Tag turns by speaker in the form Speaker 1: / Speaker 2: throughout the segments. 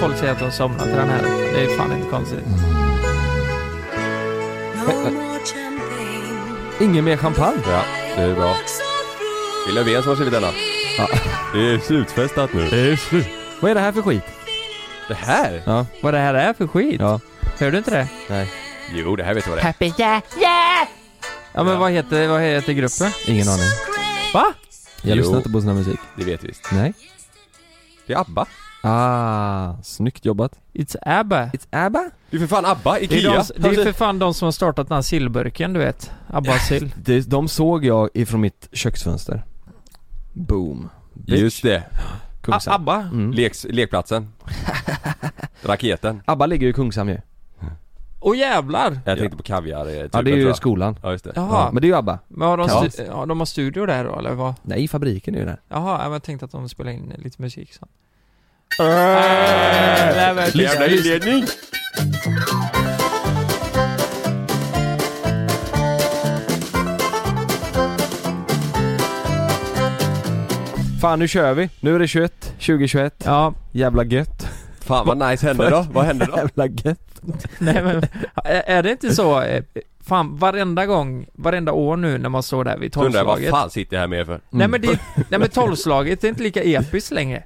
Speaker 1: folk säger att de har somnat till den här. Det är fan inte konstigt.
Speaker 2: Ingen mer champagne.
Speaker 3: Ja, det är bra. Det är Löfven som har skrivit denna. Det är slutfestat nu.
Speaker 2: är slut. Vad är det här för skit?
Speaker 3: Det här?
Speaker 2: Ja.
Speaker 1: Vad det här är för skit.
Speaker 2: Ja.
Speaker 1: Hör du inte det?
Speaker 2: Nej.
Speaker 3: Jo, det här vet jag vad det är.
Speaker 1: Happy yeah, yeah! Ja men
Speaker 3: Ja.
Speaker 1: vad heter, vad heter gruppen?
Speaker 2: Ingen aning.
Speaker 1: Va?
Speaker 2: Jag
Speaker 3: Jo.
Speaker 2: lyssnar inte på sån här musik.
Speaker 3: Det vet vi visst.
Speaker 2: Nej.
Speaker 3: Det är ABBA.
Speaker 2: Ah, snyggt jobbat.
Speaker 1: It's ABBA.
Speaker 2: It's ABBA.
Speaker 3: Det är för fan ABBA,
Speaker 1: Det är,
Speaker 3: IKEA.
Speaker 1: de, det är för fan de som har startat den här sillburken du vet. ABBA sill.
Speaker 2: Det, de såg jag ifrån mitt köksfönster. Boom. Bitch.
Speaker 3: Just det.
Speaker 2: Kungshamn.
Speaker 1: ABBA?
Speaker 2: Mm.
Speaker 3: Leks, lekplatsen. Raketen.
Speaker 2: Abba ligger ju i Kungshamn ju.
Speaker 1: Åh jävlar!
Speaker 3: Jag tänkte på kaviar eh,
Speaker 2: Ja, det är
Speaker 3: tror
Speaker 2: ju
Speaker 3: jag.
Speaker 2: skolan.
Speaker 3: Ja, just det.
Speaker 1: Jaha,
Speaker 2: Ja, men det är ju Abba.
Speaker 1: men har de,
Speaker 2: Kaos.
Speaker 1: stu- ja, de har studio där då eller vad?
Speaker 2: Nej, fabriken är ju där.
Speaker 1: Jaha, ja, men jag tänkte att de spelar in lite musik sen.
Speaker 3: Äh,
Speaker 1: Nej, men-
Speaker 3: Jävla inledning!
Speaker 2: Fan, nu kör vi. Nu är det 21, 2021.
Speaker 1: Ja,
Speaker 2: Jävla gött.
Speaker 3: Fan vad nice hände då? Vad hände då?
Speaker 2: Jävla gött.
Speaker 1: nej men är är det inte så? eh, Fan, varenda gång, varenda år nu när man står där vid
Speaker 3: Undrar jag, vad
Speaker 1: tolvslaget.
Speaker 3: fan sitter jag här med för?
Speaker 1: Nej
Speaker 2: Mm.
Speaker 1: men, det, nej men tolvslaget det är inte lika episkt längre.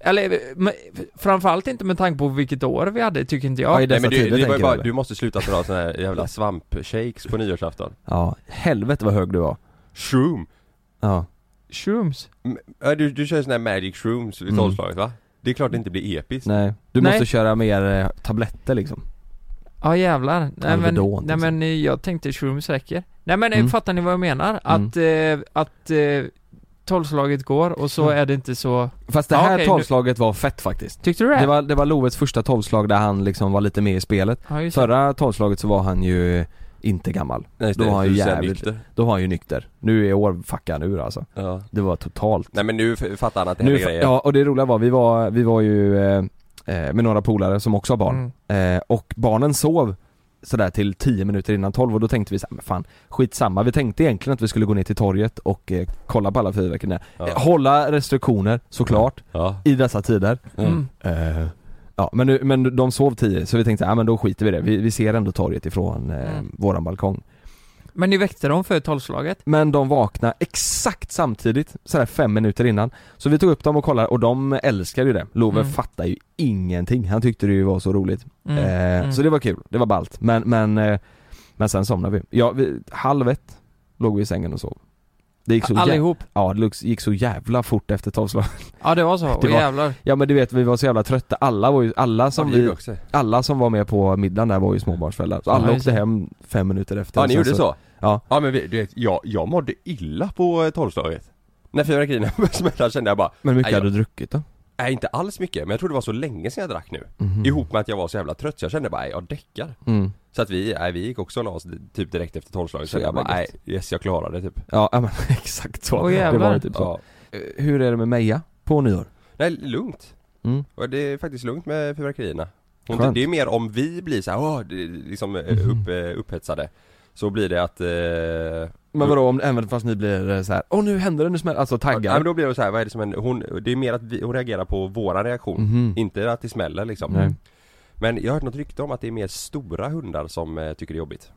Speaker 1: Eller eh, men, framförallt inte med tanke på vilket år vi hade, tycker inte
Speaker 2: Ja, i
Speaker 1: jag.
Speaker 2: dessa
Speaker 3: Nej men du,
Speaker 2: tider
Speaker 3: det var
Speaker 2: tänker
Speaker 3: ju
Speaker 2: du
Speaker 3: bara,
Speaker 2: väl?
Speaker 3: du måste sluta dra såna här jävla svampshakes på nyårsafton.
Speaker 2: Ja, helvete vad hög du var.
Speaker 3: Shroom!
Speaker 2: Ja.
Speaker 1: Shrooms.
Speaker 3: M- ja, Du, du kör såna här magic shrooms vid
Speaker 2: Mm.
Speaker 3: tolvslaget va? Det är klart det inte blir episkt.
Speaker 2: Nej. Du
Speaker 1: Nej.
Speaker 2: måste köra mer eh, tabletter liksom.
Speaker 1: Ja jävlar. Nej men,
Speaker 2: Alvedon,
Speaker 1: nej,
Speaker 2: liksom.
Speaker 1: men eh, jag tänkte shrooms räcker. Nej men eh,
Speaker 2: Mm.
Speaker 1: fattar ni vad jag menar? Att, eh, att eh, tolvslaget går och så
Speaker 2: Mm.
Speaker 1: är det inte så...
Speaker 2: Fast det
Speaker 1: Ja,
Speaker 2: här
Speaker 1: okej, nu-
Speaker 2: tolvslaget var fett faktiskt.
Speaker 1: Tyckte du det?
Speaker 2: Det var, det var Loves första tolvslag där han liksom var lite med i spelet.
Speaker 1: ja, just det.
Speaker 2: Förra tolvslaget så var han ju eh, inte gammal.
Speaker 3: Nej, just
Speaker 2: Då
Speaker 3: det,
Speaker 2: har han
Speaker 3: du
Speaker 2: ju
Speaker 3: är så här
Speaker 2: jävligt-
Speaker 3: nykter.
Speaker 2: Då var han ju nykter. Nu är år fucka nu alltså.
Speaker 3: Ja.
Speaker 2: Det var totalt.
Speaker 3: Nej men nu f- fattar han att det här
Speaker 2: Nu,
Speaker 3: är grejer.
Speaker 2: ja, och det roliga var, vi var, vi var ju eh, eh, med några polare som också har barn.
Speaker 1: Mm.
Speaker 2: Eh, och barnen sov sådär till 10 minuter innan 12 och då tänkte vi såhär, men fan skitsamma. Vi tänkte egentligen att vi skulle gå ner till torget och eh, kolla på alla fyrverkerierna.
Speaker 3: Ja.
Speaker 2: Eh, hålla restriktioner såklart,
Speaker 3: Ja.
Speaker 2: i dessa tider.
Speaker 1: Mm.
Speaker 2: Eh, ja, men, nu, men de sov 10 så vi tänkte, ja men då skiter vi i det. Vi, vi ser ändå torget ifrån eh,
Speaker 1: Mm.
Speaker 2: våran balkong.
Speaker 1: Men ni väckte dem för tolvslaget?
Speaker 2: Men de vaknade exakt samtidigt, sådär fem minuter innan. Så vi tog upp dem och kollade och de älskade ju det. Love
Speaker 1: Mm.
Speaker 2: fattar ju ingenting, han tyckte det ju var så roligt.
Speaker 1: Mm.
Speaker 2: eh,
Speaker 1: mm.
Speaker 2: Så det var kul, det var ballt. Men, men, eh, men sen somnade vi. Ja, vi halv ett låg vi i sängen och sov. Det gick så, jä-
Speaker 1: Allihop?
Speaker 2: ja, det lux- gick så jävla fort efter tolvslaget.
Speaker 1: Ja det var så,
Speaker 2: Det
Speaker 1: Åh
Speaker 2: var-
Speaker 1: jävlar.
Speaker 2: Ja men du vet vi var så jävla trötta, alla var ju, alla
Speaker 3: Som
Speaker 2: som
Speaker 3: vi
Speaker 2: vi,
Speaker 3: också.
Speaker 2: alla som var med på middagen där var ju småbarnsföräldrar. Så alla
Speaker 1: Ja, just
Speaker 2: åkte hem fem minuter efter.
Speaker 3: Ja
Speaker 2: Och
Speaker 3: ni
Speaker 2: sen
Speaker 3: gjorde så?
Speaker 2: Ja.
Speaker 3: Ja men vi, du vet, jag, jag mådde illa på eh, tolvslaget. När fyrverkerierna började smälla kände jag bara,
Speaker 2: Men hur mycket
Speaker 3: Nej, jag-
Speaker 2: hade du druckit då?
Speaker 3: nej inte alls mycket, men jag tror det var så länge sedan jag drack nu.
Speaker 2: Mhm.
Speaker 3: Ihop med att jag var så jävla trött så jag kände bara, nej jag däckar.
Speaker 2: Mm.
Speaker 3: Så att vi, nej vi gick också och la oss typ direkt efter tolvslaget.
Speaker 2: Så
Speaker 3: Så jag
Speaker 2: jävla
Speaker 3: bara, nej yes jag klarade det typ.
Speaker 2: Ja, ja, men exakt så.
Speaker 1: Åh,
Speaker 2: det
Speaker 1: jävlar.
Speaker 2: var ju typ så.
Speaker 3: Ja.
Speaker 2: Eh, Hur är det med Meja på nyår?
Speaker 3: Nej lugnt.
Speaker 2: Mm.
Speaker 3: Och det är faktiskt lugnt med fyrverkerierna. Hon-
Speaker 2: Skönt. Mm.
Speaker 3: Det är mer om vi blir så här, åh, det- liksom eh, upp, eh, upphetsade. Så blir det att, eh,
Speaker 2: Men vadå om, även fast ni blir eh, så här, åh nu händer det, nu smäller alltså
Speaker 3: Ja, men
Speaker 2: taggar?
Speaker 3: då blir det så här, vad är det som händer? Hon, det är mer att vi, hon reagerar på våra reaktion.
Speaker 2: Mhm.
Speaker 3: Inte att det smäller liksom.
Speaker 2: Nej.
Speaker 3: Men jag har hört något rykte om att det är mer stora hundar som eh, tycker det är jobbigt.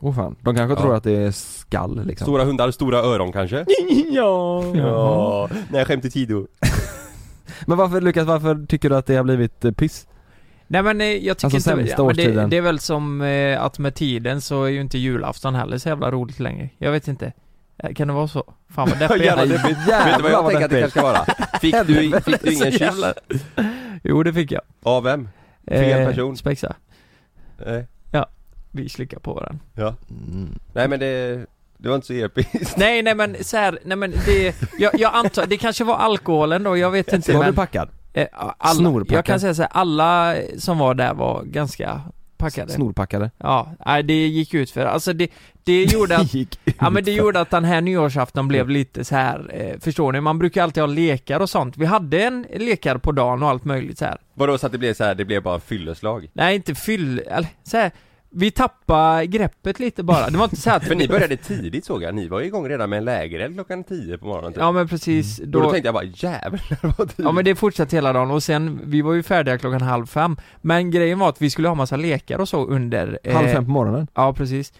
Speaker 2: Åh fan, de kanske
Speaker 3: Ja.
Speaker 2: tror att det är skall liksom.
Speaker 3: Stora hundar, stora öron kanske?
Speaker 2: ja.
Speaker 3: Ja. Nej skämt åsido.
Speaker 2: Men varför Lukas, varför tycker du att det har blivit eh, piss?
Speaker 1: Nej men eh, jag tycker
Speaker 2: Alltså,
Speaker 1: inte...
Speaker 2: sämsta
Speaker 1: men det,
Speaker 2: årstiden.
Speaker 1: det är väl som eh, att med tiden så är ju inte julafton heller så jävla roligt längre. Jag vet inte. Eh, Kan det vara så? Fan vad deppigt.
Speaker 3: Jävla deppigt. Vet du vad jag tänker att det kanske ska vara? Fick du, fick du ingen
Speaker 1: Så
Speaker 3: kyss?
Speaker 1: jävla- Jo det fick jag. Eh,
Speaker 3: Av vem? Fel person.
Speaker 1: Spexa.
Speaker 3: Nej.
Speaker 1: Vi slickar på varandra.
Speaker 3: Ja.
Speaker 2: Mm.
Speaker 3: Nej men det, det var inte så episkt.
Speaker 1: Nej nej men så här, nej men det, jag, jag antar, det kanske var alkoholen då, jag vet inte
Speaker 2: Var du
Speaker 1: men.
Speaker 2: packad?
Speaker 1: eh, alla,
Speaker 2: Snorpackad.
Speaker 1: jag kan säga så här, alla som var där var ganska packade.
Speaker 2: Snorpackade?
Speaker 1: Ja, nej det gick ut för alltså det, det gjorde att
Speaker 2: gick
Speaker 1: Ja men det gjorde att den här nyårsafton blev lite så här eh, förstår ni? Man brukar alltid ha lekar och sånt. Vi hade en lekar på dagen och allt möjligt så här.
Speaker 3: Vadå så att det blev så här, det blev bara fylleslag?
Speaker 1: Nej inte fyll, eller så här, Vi tappade greppet lite bara. Det var inte så att...
Speaker 3: För ni började tidigt såg jag, ni var ju igång redan med en lägereld klockan 10 på morgonen typ.
Speaker 1: Ja men precis.
Speaker 3: då...
Speaker 1: Då,
Speaker 3: Och då tänkte jag bara jävlar vad tidigt.
Speaker 1: ja men det fortsatte hela dagen och sen, vi var ju färdiga klockan halv fem. Men grejen var att vi skulle ha massa lekar och så under... eh,
Speaker 2: Halv fem på morgonen.
Speaker 1: Ja, precis.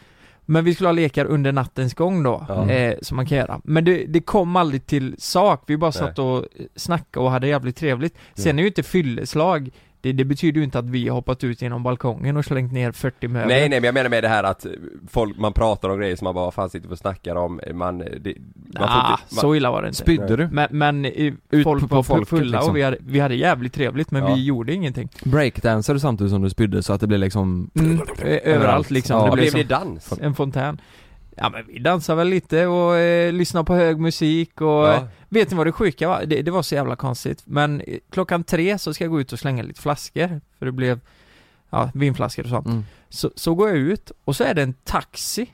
Speaker 1: Men vi skulle ha lekar under nattens gång då,
Speaker 3: Ja.
Speaker 1: eh, som man kan göra. Men det, det kom aldrig till sak, vi bara
Speaker 3: Nej. Mm.
Speaker 1: satt och eh, snackade och hade jävligt trevligt. Sen är ju inte fylleslag, det, det betyder ju inte att vi har hoppat ut genom balkongen och slängt ner 40 möbler.
Speaker 3: Nej nej men jag menar med det här att folk, man pratar om grejer som man bara vad fan sitter vi och snackar om, man, det, man
Speaker 1: Ah,
Speaker 3: inte- man,
Speaker 1: så illa var det inte.
Speaker 2: Spydde du?
Speaker 1: Men, men eh,
Speaker 2: Ut
Speaker 1: folk
Speaker 2: på- på
Speaker 1: var
Speaker 2: folket,
Speaker 1: fulla
Speaker 2: liksom.
Speaker 1: och vi hade, vi hade jävligt trevligt men
Speaker 3: Ja.
Speaker 1: vi gjorde ingenting.
Speaker 2: Breakdansade du samtidigt som du spydde så att det blev liksom
Speaker 1: Mm, eh, överallt liksom.
Speaker 2: Ja,
Speaker 3: ja,
Speaker 1: det blev
Speaker 3: blev
Speaker 1: som
Speaker 3: det dans?
Speaker 1: en fontän. Ja men vi dansade väl lite och eh, lyssnade på hög musik och eh,
Speaker 3: Ja.
Speaker 1: Vet ni vad det sjuka var? Det, det var så jävla konstigt. Men eh, klockan tre så ska jag gå ut och slänga lite flaskor. För det blev, ja, vinflaskor och sånt.
Speaker 2: mm.
Speaker 1: Så, så går jag ut och så är det en taxi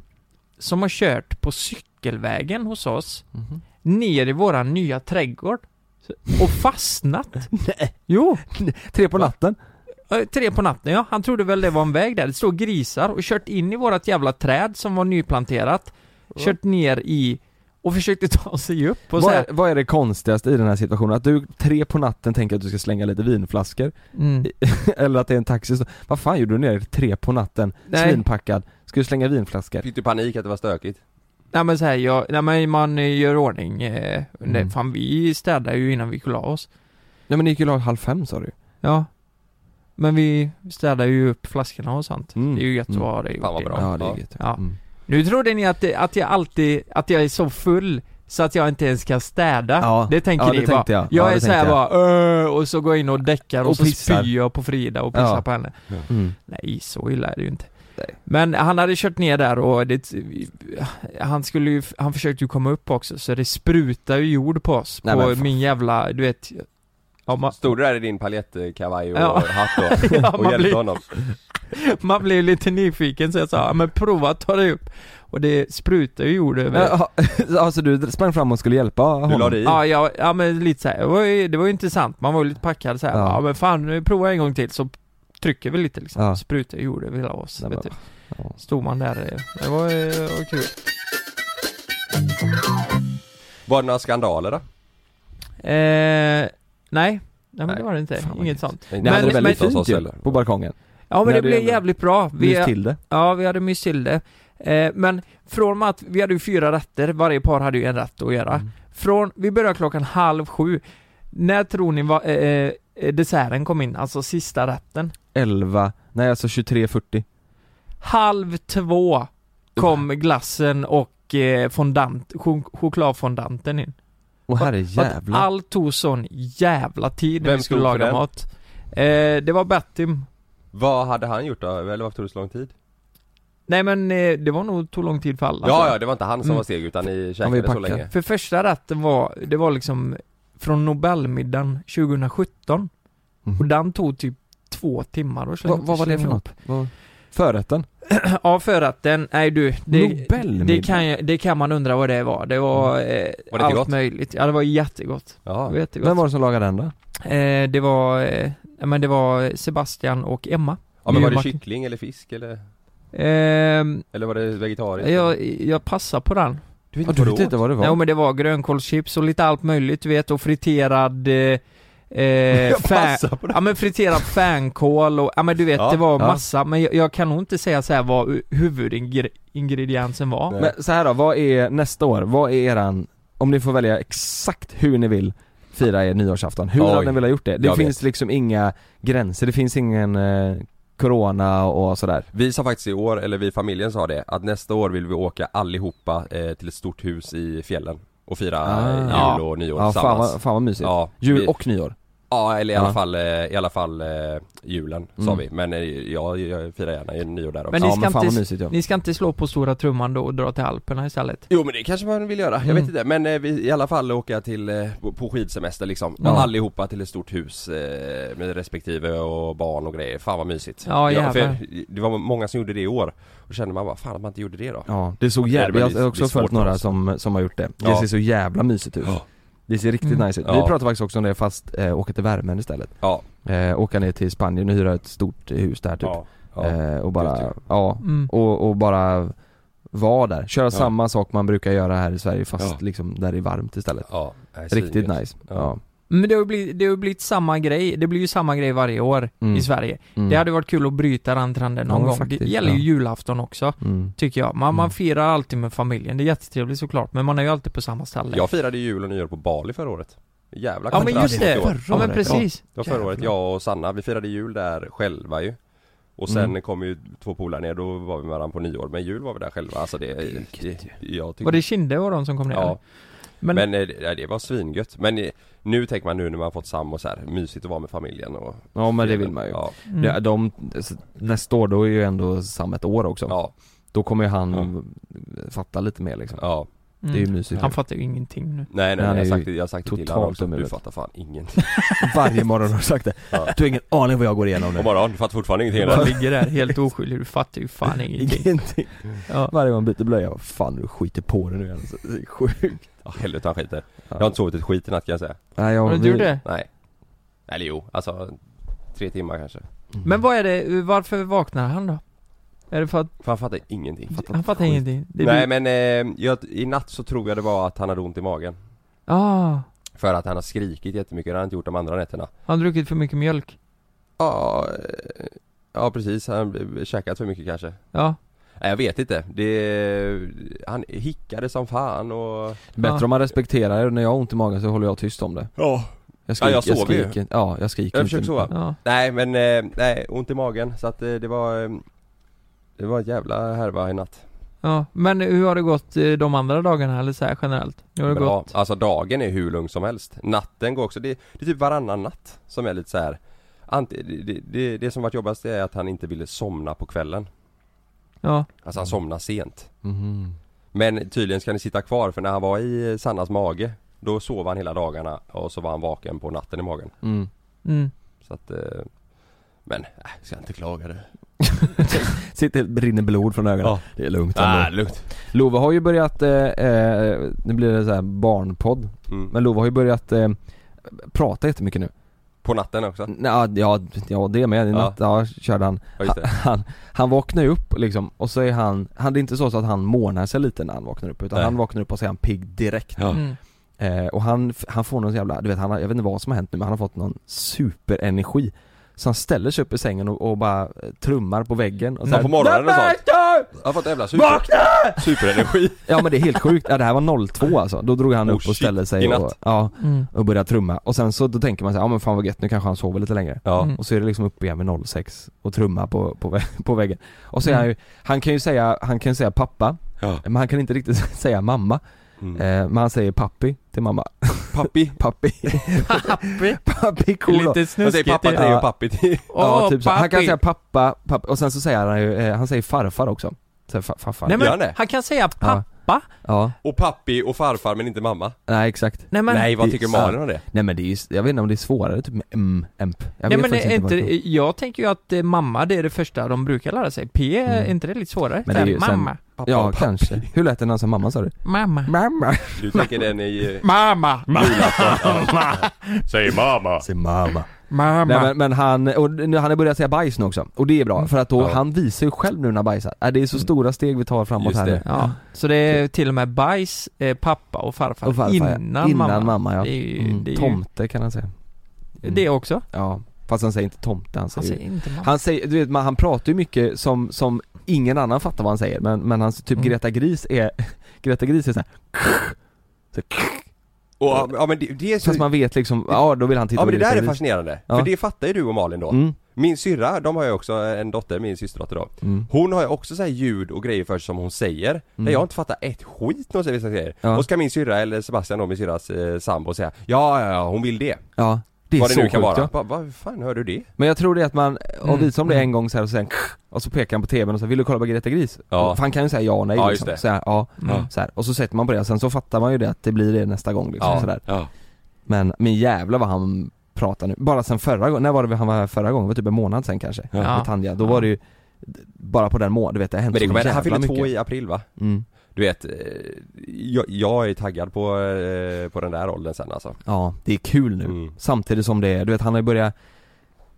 Speaker 1: som har kört på cykelvägen hos oss
Speaker 2: Mhm.
Speaker 1: ner i våran nya trädgård. Så- Och fastnat. Nej. Jo,
Speaker 2: Tre på natten?
Speaker 1: eh, tre på natten ja. Han trodde väl det var en väg där. Det stod grisar och kört in i vårat jävla träd som var nyplanterat. Kört ner i och försökte ta sig upp och så
Speaker 2: Vad
Speaker 1: här.
Speaker 2: är, vad är det konstigaste i den här situationen? Att du tre på natten tänker att du ska slänga lite vinflaskor?
Speaker 1: Mm.
Speaker 2: Eller att det är en taxi som, Vad fan gjorde du ner tre på natten?
Speaker 1: Nej.
Speaker 2: Svinpackad, ska du slänga vinflaskor?
Speaker 3: Fick du panik att det var stökigt?
Speaker 1: Nej men så här, jag, nej men man eh, gör ordning, eh, nej,
Speaker 2: Mm.
Speaker 1: fan vi städar ju innan vi går och la oss.
Speaker 2: Nej men ni gick ju la halv fem sa du
Speaker 1: Ja. Men vi städar ju upp flaskorna och sånt.
Speaker 2: Mm.
Speaker 1: Det är ju gött att
Speaker 2: Mm.
Speaker 1: ha det gjort
Speaker 3: Fan, vad bra.
Speaker 1: innan.
Speaker 2: Ja det är
Speaker 3: Ja.
Speaker 2: gött
Speaker 1: Ja.
Speaker 2: Mm.
Speaker 1: Nu trodde ni att, det, att jag alltid, att jag är så full så att jag inte ens kan städa.
Speaker 2: Ja.
Speaker 1: Det tänker
Speaker 2: Ja,
Speaker 1: ni
Speaker 2: det tänkte
Speaker 1: bara.
Speaker 2: jag. Ja,
Speaker 1: är
Speaker 2: det
Speaker 1: så här
Speaker 2: tänkte
Speaker 1: bara "Åh", och så går jag in och däckar och,
Speaker 2: Och
Speaker 1: så
Speaker 2: pissar.
Speaker 1: spyr jag på Frida och pissar
Speaker 2: Ja.
Speaker 1: på henne.
Speaker 2: Mm.
Speaker 1: Nej, så illa är det ju inte.
Speaker 2: Nej.
Speaker 1: Men han hade kört ner där och det, han skulle ju, han försökte ju komma upp också så det sprutar ju jord på oss
Speaker 2: Nej,
Speaker 1: på
Speaker 2: men fan.
Speaker 1: min jävla, du vet Ja, man,
Speaker 3: Stod du där i din paljettkavaj och
Speaker 1: Ja.
Speaker 3: hatt då?
Speaker 1: Ja,
Speaker 3: och
Speaker 1: man
Speaker 3: hjälpte
Speaker 1: blir-
Speaker 3: honom?
Speaker 1: man blev lite nyfiken så jag sa, "Ja, men prova att ta dig upp Och det sprutar ju jord över
Speaker 2: Ja, alltså du sprang fram och skulle hjälpa honom?
Speaker 3: Du la dig i?
Speaker 1: Ja, ja, ja men lite så här. Det, var ju, det var ju intressant, man var ju lite packad så här. Ja.
Speaker 2: Ja.
Speaker 1: men fan, nu provar jag en gång till så trycker vi lite liksom,
Speaker 2: Ja.
Speaker 1: sprutar jord över hela oss,
Speaker 2: Nej,
Speaker 1: vet du.
Speaker 2: men- ja.
Speaker 1: Stod man där, eh, det var, eh, var kul
Speaker 3: Var det några skandaler då?
Speaker 1: Eh, nej. Nej men det
Speaker 2: Nej,
Speaker 1: var det inte,
Speaker 2: fan vad
Speaker 1: inget
Speaker 2: gött.
Speaker 1: sånt.
Speaker 3: Nej,
Speaker 2: Ni hade
Speaker 1: Men-
Speaker 2: det
Speaker 1: men-
Speaker 2: väldigt fint ju, på balkongen?
Speaker 1: Ja men
Speaker 2: Ni
Speaker 1: det
Speaker 2: hade
Speaker 1: blev
Speaker 2: ändå
Speaker 1: jävligt bra.
Speaker 2: Lyft
Speaker 1: Vi,
Speaker 2: till det?
Speaker 1: ja vi hade myst till det. Eh, men från att, vi hade ju fyra rätter, varje par hade ju en rätt att göra.
Speaker 2: Mm.
Speaker 1: Från, vi började klockan halv sju. När tror ni va, eh, eh, desserten kom in, alltså sista rätten?
Speaker 2: 11, nej alltså 23.40
Speaker 1: Halv två kom glassen och eh, fondant, chok- chokladfondanten in.
Speaker 2: Åh
Speaker 1: För att
Speaker 2: herrejävlar
Speaker 1: Allt tog sån jävla tid när
Speaker 3: Vem
Speaker 1: vi skulle
Speaker 3: stod för
Speaker 1: laga
Speaker 3: den?
Speaker 1: mat. Eh, det var Bettim.
Speaker 3: Vad hade han gjort då? Eller varför tog det så lång tid?
Speaker 1: Nej men eh, det var nog, tog lång tid för alla tror
Speaker 3: ja,
Speaker 1: jag.
Speaker 3: ja, det var inte han som
Speaker 1: Mm.
Speaker 3: var seg utan ni
Speaker 2: Han var
Speaker 3: käkade
Speaker 2: ju
Speaker 3: så
Speaker 2: packad.
Speaker 3: länge
Speaker 1: För första rätten var, det var liksom från Nobelmiddagen 2017
Speaker 2: Mhm.
Speaker 1: och den tog typ två timmar och
Speaker 2: Vad vad var det för något? Vad- Förrätten?
Speaker 1: Ja förrätten, nej du det,
Speaker 2: Nobelmiddag?
Speaker 1: det, kan, jag- det kan man undra vad det var, det var, eh,
Speaker 3: inte
Speaker 1: allt
Speaker 3: gott?
Speaker 1: möjligt, ja det var jättegott, det
Speaker 3: Ja,
Speaker 1: var jättegott.
Speaker 2: Vem var det som lagade den då?
Speaker 1: Eh, det var, eh, nej, men det var Sebastian och Emma
Speaker 3: ja men var det
Speaker 1: Martin.
Speaker 3: kyckling eller fisk eller?
Speaker 1: Ehm,
Speaker 3: Eller var det vegetariskt?
Speaker 1: jag, jag passar på den
Speaker 3: du
Speaker 2: Ja, du vet inte vad det
Speaker 1: Nej
Speaker 2: var?
Speaker 1: men det var grönkålschips och lite allt möjligt du vet och friterad eh, Eh, fan,
Speaker 3: Passa på det.
Speaker 1: ja men friterad fänkål och, ja men du vet
Speaker 3: Ja,
Speaker 1: det var
Speaker 2: ja.
Speaker 1: massa, men jag, jag kan nog inte säga så här vad u- huvudingrediensen var
Speaker 3: Nej.
Speaker 2: Men så här då, vad är nästa år? Vad är eran, om ni får välja exakt hur ni vill fira er nyårsafton, hur
Speaker 3: Oj.
Speaker 2: hade ni velat gjort det? Det
Speaker 3: Jag
Speaker 2: finns liksom inga gränser, det finns ingen eh, corona och sådär.
Speaker 3: Vi sa faktiskt i år, eller vi i familjen sa det, att nästa år vill vi åka allihopa eh, till ett stort hus i fjällen och fira
Speaker 2: Ah.
Speaker 3: eh,
Speaker 1: Ja.
Speaker 3: jul och nyår
Speaker 2: Ja fan
Speaker 3: tillsammans
Speaker 2: vad, fan vad mysigt.
Speaker 3: Ja,
Speaker 2: Jul
Speaker 3: vi-
Speaker 2: och nyår.
Speaker 3: Ja, eller i alla
Speaker 2: Ja.
Speaker 3: fall, eh, i alla fall eh, julen sa
Speaker 2: Mm.
Speaker 3: vi. Men eh, jag, jag firar gärna ju nyår där också.
Speaker 1: Men
Speaker 2: ja
Speaker 1: ni ska
Speaker 2: men fan
Speaker 1: inte-
Speaker 2: vad mysigt ja.
Speaker 1: Ni ska inte slå på stora trumman då och dra till Alperna istället?
Speaker 3: Jo men det kanske man vill göra, jag
Speaker 1: Mm.
Speaker 3: vet inte. Men eh, vi, i alla fall åka till, eh, på- på skidsemester liksom.
Speaker 2: Ja.
Speaker 3: Allihopa till ett stort hus eh, med respektive och barn och grejer. Fan vad mysigt.
Speaker 1: Ja, jävlar.
Speaker 3: för det var många som gjorde det i år. Och kände man bara, fan att man inte gjorde det då.
Speaker 2: Ja, det såg jävligt,
Speaker 3: Det
Speaker 2: jag
Speaker 3: är väl-
Speaker 2: har
Speaker 3: det
Speaker 2: också
Speaker 3: är svårt
Speaker 2: följt
Speaker 3: för
Speaker 2: några
Speaker 3: oss.
Speaker 2: som, som har gjort det. Det
Speaker 3: Ja.
Speaker 2: ser så jävla mysigt ut.
Speaker 3: Ja.
Speaker 2: Det ser riktigt
Speaker 1: Mm.
Speaker 2: nice ut. Vi
Speaker 3: Ja.
Speaker 2: pratade faktiskt också om det fast eh, åka till värmen istället.
Speaker 3: Ja,
Speaker 2: Eh, åka ner till Spanien och hyra ett stort hus där typ.
Speaker 3: ja.
Speaker 2: eh, och bara,
Speaker 3: just det.
Speaker 2: ja,
Speaker 1: Mm.
Speaker 2: och, och bara vara där. Köra
Speaker 3: Ja.
Speaker 2: samma sak man brukar göra här i Sverige fast
Speaker 3: Ja.
Speaker 2: liksom där det är varmt istället.
Speaker 3: ja, nej,
Speaker 2: Riktigt
Speaker 3: svingött.
Speaker 2: nice.
Speaker 3: Ja.
Speaker 2: Ja.
Speaker 1: Men det har ju blivit, det har ju blivit samma grej, det blir ju samma grej varje år
Speaker 2: Mm.
Speaker 1: i Sverige.
Speaker 2: Mm.
Speaker 1: Det hade varit kul att bryta den trenden någon
Speaker 2: Ja,
Speaker 1: gång. det
Speaker 2: faktiskt,
Speaker 1: gäller ju
Speaker 2: ja.
Speaker 1: julafton också,
Speaker 2: Mm.
Speaker 1: tycker jag. Man,
Speaker 2: Mm.
Speaker 1: man firar alltid med familjen, det är jättetrevligt såklart, men man är ju alltid på samma ställe.
Speaker 3: Jag firade jul och nyår på Bali förra året Jävla
Speaker 1: ja men
Speaker 3: kontrast
Speaker 1: just
Speaker 3: mot i år.
Speaker 1: det, ja men
Speaker 2: året,
Speaker 1: precis.
Speaker 3: Det var förra året,
Speaker 1: Jävlar.
Speaker 3: jag och Sanna, vi firade jul där själva ju Och sen
Speaker 2: Mm.
Speaker 3: kom ju två polare ner, då var vi med varandra på nyår Men jul var vi där själva, alltså det, det, jag tyckte
Speaker 1: Var det Kinde och de som kom ner?
Speaker 3: Ja,
Speaker 1: Men,
Speaker 3: men, eh, det, det var svingött Men eh, nu tänker man nu när man har fått sambo så här, mysigt att vara med familjen och
Speaker 2: ja men det vill man ju.
Speaker 3: Ja,
Speaker 1: mm.
Speaker 2: Ja, de, alltså, nästa år, då är ju ändå Sam ett år också.
Speaker 3: ja,
Speaker 2: Då kommer ju han fatta lite mer liksom.
Speaker 3: ja.
Speaker 1: mm.
Speaker 2: Det är ju mysigt.
Speaker 1: Han fattar ju ingenting nu.
Speaker 3: Nej nej,
Speaker 2: Han
Speaker 3: jag
Speaker 2: är
Speaker 3: har
Speaker 2: ju
Speaker 3: sagt det, jag har sagt det till honom
Speaker 2: totalt
Speaker 3: också,
Speaker 2: dum
Speaker 3: du
Speaker 2: i huvudet.
Speaker 3: fattar fan ingenting
Speaker 2: Varje morgon har du sagt det.
Speaker 3: Ja.
Speaker 2: Du har ingen aning vad jag går igenom nu.
Speaker 3: Och bara, "Ja, du fattar fortfarande ingenting
Speaker 1: Han
Speaker 3: eller?
Speaker 1: ligger där helt oskyldig, du fattar ju fan ingenting.
Speaker 2: Ingenting.
Speaker 1: Ja.
Speaker 2: Varje gång man byter blöja, vad fan du skiter på dig nu alltså. Det är sjukt.
Speaker 3: Ja, helvete han skiter
Speaker 2: Ja.
Speaker 3: Jag har inte sovit ett skit i natt kan jag säga
Speaker 2: Nej, jag,
Speaker 1: Har du
Speaker 2: vi-
Speaker 1: gjort det?
Speaker 3: Nej Eller jo, alltså tre timmar kanske
Speaker 2: Mm.
Speaker 1: Men vad är det, varför vaknar han då? Är det för att,
Speaker 3: Fan jag fattar ingenting
Speaker 1: han fattar
Speaker 2: skit.
Speaker 1: ingenting? Det är du-
Speaker 3: Nej men eh, jag, i natt så tror jag det var att han hade ont i magen
Speaker 1: Ah,
Speaker 3: För att han har skrikit jättemycket, det har han inte gjort de andra nätterna
Speaker 1: han har druckit för mycket mjölk.
Speaker 3: Ja, eh, ja precis, han eh, käkat för mycket kanske
Speaker 1: Ja.
Speaker 3: Nej jag vet inte, det... Han hickade som fan och...
Speaker 2: Bättre
Speaker 1: Ja.
Speaker 2: om man respekterar det. När jag har ont i magen så håller jag tyst om det.
Speaker 3: Ja
Speaker 2: Jag
Speaker 3: Ja, jag sover ju.
Speaker 2: skriker, Ja, jag skriker
Speaker 3: Jag
Speaker 2: inte.
Speaker 3: försöker sova.
Speaker 1: Ja.
Speaker 3: Nej men, eh, nej, ont i magen så att eh, det var... eh, Det var en jävla härva i natt
Speaker 1: Ja, men hur har det gått eh, de andra dagarna eller så här generellt? Nu har det
Speaker 3: Bra.
Speaker 1: gått...
Speaker 3: Alltså dagen är hur lugn som helst Natten går också, det, det är typ varannan natt som är lite så här. Ante, det, det, det, det som varit jobbigast är att han inte ville somna på kvällen
Speaker 1: Ja,
Speaker 3: Alltså han somnade sent
Speaker 2: Mhm.
Speaker 3: Men tydligen ska ni sitta kvar för när han var i eh, Sannas mage Då sov han hela dagarna och så var han vaken på natten i magen
Speaker 2: Mm.
Speaker 1: mm.
Speaker 3: Så att eh, Men, äh, ska inte klaga det
Speaker 2: Sitter, brinner blod från ögonen.
Speaker 3: Ja.
Speaker 2: Det är lugnt ändå.
Speaker 3: Ah, lugnt
Speaker 2: Love har ju börjat, eh, eh, nu blir det så här barnpodd,
Speaker 3: mm.
Speaker 2: men Love har ju börjat eh, prata jättemycket nu.
Speaker 3: På natten också?
Speaker 2: Ja, ja, ja det med, i
Speaker 3: Ja.
Speaker 2: natt ja. körde han.
Speaker 3: Ja just det
Speaker 2: Han, han vaknar ju upp liksom och så är han, han det är inte så, så att han månar sig lite när han vaknar upp utan
Speaker 3: Nej.
Speaker 2: han vaknar upp och så är han pigg direkt.
Speaker 3: Ja.
Speaker 1: Mm.
Speaker 2: Eh, och han, han får någon jävla, du vet han, har- jag vet inte vad som har hänt nu men han har fått någon superenergi. Så han ställer sig upp i sängen och, och bara eh, trummar på väggen och
Speaker 3: Ja, på morgonen och sånt. Jag har fått jävla super,
Speaker 2: Vakna!
Speaker 3: superenergi
Speaker 2: Ja men det är helt sjukt, ja, det här var 02 alltså. Då drog han
Speaker 3: Oh,
Speaker 2: upp och
Speaker 3: shit.
Speaker 2: ställde sig
Speaker 3: I natt?
Speaker 2: och, ja,
Speaker 1: Mm.
Speaker 2: och började trumma. Och sen så då tänker man sig, ja men fan vad gött, nu kanske han sover lite längre.
Speaker 3: Ja,
Speaker 1: Mm.
Speaker 2: Och så är det liksom uppe igen vid 06 och trumma på, på, vä- på väggen. Och så är
Speaker 1: Mm.
Speaker 2: han ju, han kan ju säga, han kan ju säga pappa,
Speaker 3: ja.
Speaker 2: men han kan inte riktigt säga mamma.
Speaker 3: Mm.
Speaker 2: Eh, men han säger pappi till mamma.
Speaker 3: Pappi
Speaker 2: Pappi.
Speaker 1: Pappi!
Speaker 2: pappi cool.
Speaker 1: Lite
Speaker 3: Jag säger
Speaker 1: snuskigt.
Speaker 3: pappa
Speaker 1: Åh,
Speaker 3: till och pappi till
Speaker 2: Ja, typ så. Han kan
Speaker 1: pappi.
Speaker 2: säga pappa, pappa, och sen så säger han ju, eh, han säger farfar också. Så här, fa- farfar.
Speaker 1: Nej
Speaker 3: Gör han
Speaker 1: men,
Speaker 3: det?
Speaker 1: han kan säga pappa.
Speaker 2: Ja,
Speaker 3: Och pappi och farfar men inte mamma
Speaker 2: nej exakt.
Speaker 1: Nej men, nej,
Speaker 3: Nej vad
Speaker 2: det-
Speaker 3: tycker Malin om det?
Speaker 2: Nej men det är ju, jag vet inte om det är svårare typ med m, emp. Jag vet
Speaker 1: men
Speaker 2: faktiskt
Speaker 1: är
Speaker 2: vad det
Speaker 1: inte, jag tänker ju att eh, mamma, det är det första de brukar lära sig. P, är
Speaker 2: Mm.
Speaker 1: inte det lite svårare?
Speaker 2: Men det är ju
Speaker 1: Så här,
Speaker 2: sen-
Speaker 1: mamma,
Speaker 3: Pappa
Speaker 2: Ja,
Speaker 3: och pappi.
Speaker 2: kanske. Hur lät den när han sa mamma sa du?
Speaker 1: mamma,
Speaker 2: Mamma.
Speaker 3: Du tänker den i...
Speaker 1: mamma,
Speaker 3: Säg mamma!
Speaker 2: Säg mamma. Nej,
Speaker 1: mamma.
Speaker 2: men, men han, och nu, han har börjat säga bajs nu också. Och det är bra, för att då,
Speaker 3: Ja.
Speaker 2: han visar ju själv nu när han bajsar. Äh, det är så stora steg vi tar framåt
Speaker 3: Just
Speaker 2: här
Speaker 3: det.
Speaker 2: nu.
Speaker 1: Ja, så Mm. det är till och med bajs, eh, pappa och farfar,
Speaker 2: Och farfar, ja.
Speaker 1: innan, mamma.
Speaker 2: Innan mamma ja.
Speaker 1: Det är ju,
Speaker 2: Mm,
Speaker 1: det är ju,
Speaker 2: tomte kan han säga. Mm.
Speaker 1: det också.
Speaker 2: Ja, fast han säger inte tomte, han
Speaker 1: Han
Speaker 2: säger,
Speaker 1: säger inte mamma.
Speaker 2: han säger du vet, man, han pratar ju mycket som, som ingen annan fattar vad han säger, men, men han, typ
Speaker 1: Mm.
Speaker 2: Greta Gris är, Greta Gris är såhär,
Speaker 3: Och, ja, men- ja men det, det är så...
Speaker 2: fast man vet liksom, ja då vill han titta
Speaker 3: Ja men det
Speaker 2: på Greta
Speaker 3: där är
Speaker 2: Gris.
Speaker 3: fascinerande,
Speaker 2: Ja.
Speaker 3: för det fattar ju du och Malin då
Speaker 2: Mm,
Speaker 3: Min syrra, de har ju också en dotter, min systerdotter då
Speaker 2: mm.
Speaker 3: Hon har ju också så här ljud och grejer för sig som hon säger Där jag inte fattar ett skit när hon säger vissa grejer
Speaker 2: Ja.
Speaker 3: Och ska min syrra eller Sebastian då, min syrras eh, sambo säga Ja, ja, ja, hon vill det
Speaker 2: Ja, det är
Speaker 3: Vad det
Speaker 2: så
Speaker 3: nu kan
Speaker 2: sjukt
Speaker 3: vara
Speaker 2: ja.
Speaker 3: Bara, Vad fan hör du det?
Speaker 2: Men jag tror det är att man,
Speaker 1: Mm,
Speaker 2: och visar om det
Speaker 1: mm.
Speaker 2: en gång så här och sen och så pekar han på tvn och så vill du kolla på Greta Gris?
Speaker 3: Ja.
Speaker 2: För han kan ju säga ja och nej
Speaker 3: Ja,
Speaker 2: liksom.
Speaker 3: just
Speaker 2: så här, ja,
Speaker 1: Mm.
Speaker 2: så här. Och så sätter man på det och sen så fattar man ju det att det blir det nästa gång liksom, sådär.
Speaker 3: ja.
Speaker 2: Men, men jävla vad han pratar nu. Bara sen förra gången, när var det han var här förra gången? Det var typ en månad sen kanske?
Speaker 3: Ja.
Speaker 2: Med Tanja, då var det ju bara på den månaden, du vet det har hänt
Speaker 3: Men det
Speaker 2: så
Speaker 3: kommer, han
Speaker 2: jävla
Speaker 3: fyller två
Speaker 2: mycket.
Speaker 3: i april va?
Speaker 2: Mm.
Speaker 3: Du vet, eh, jag, jag är taggad på, eh, på den där åldern sen alltså
Speaker 2: Ja, det är kul nu.
Speaker 3: Mm.
Speaker 2: Samtidigt som det är, du vet han har ju börjat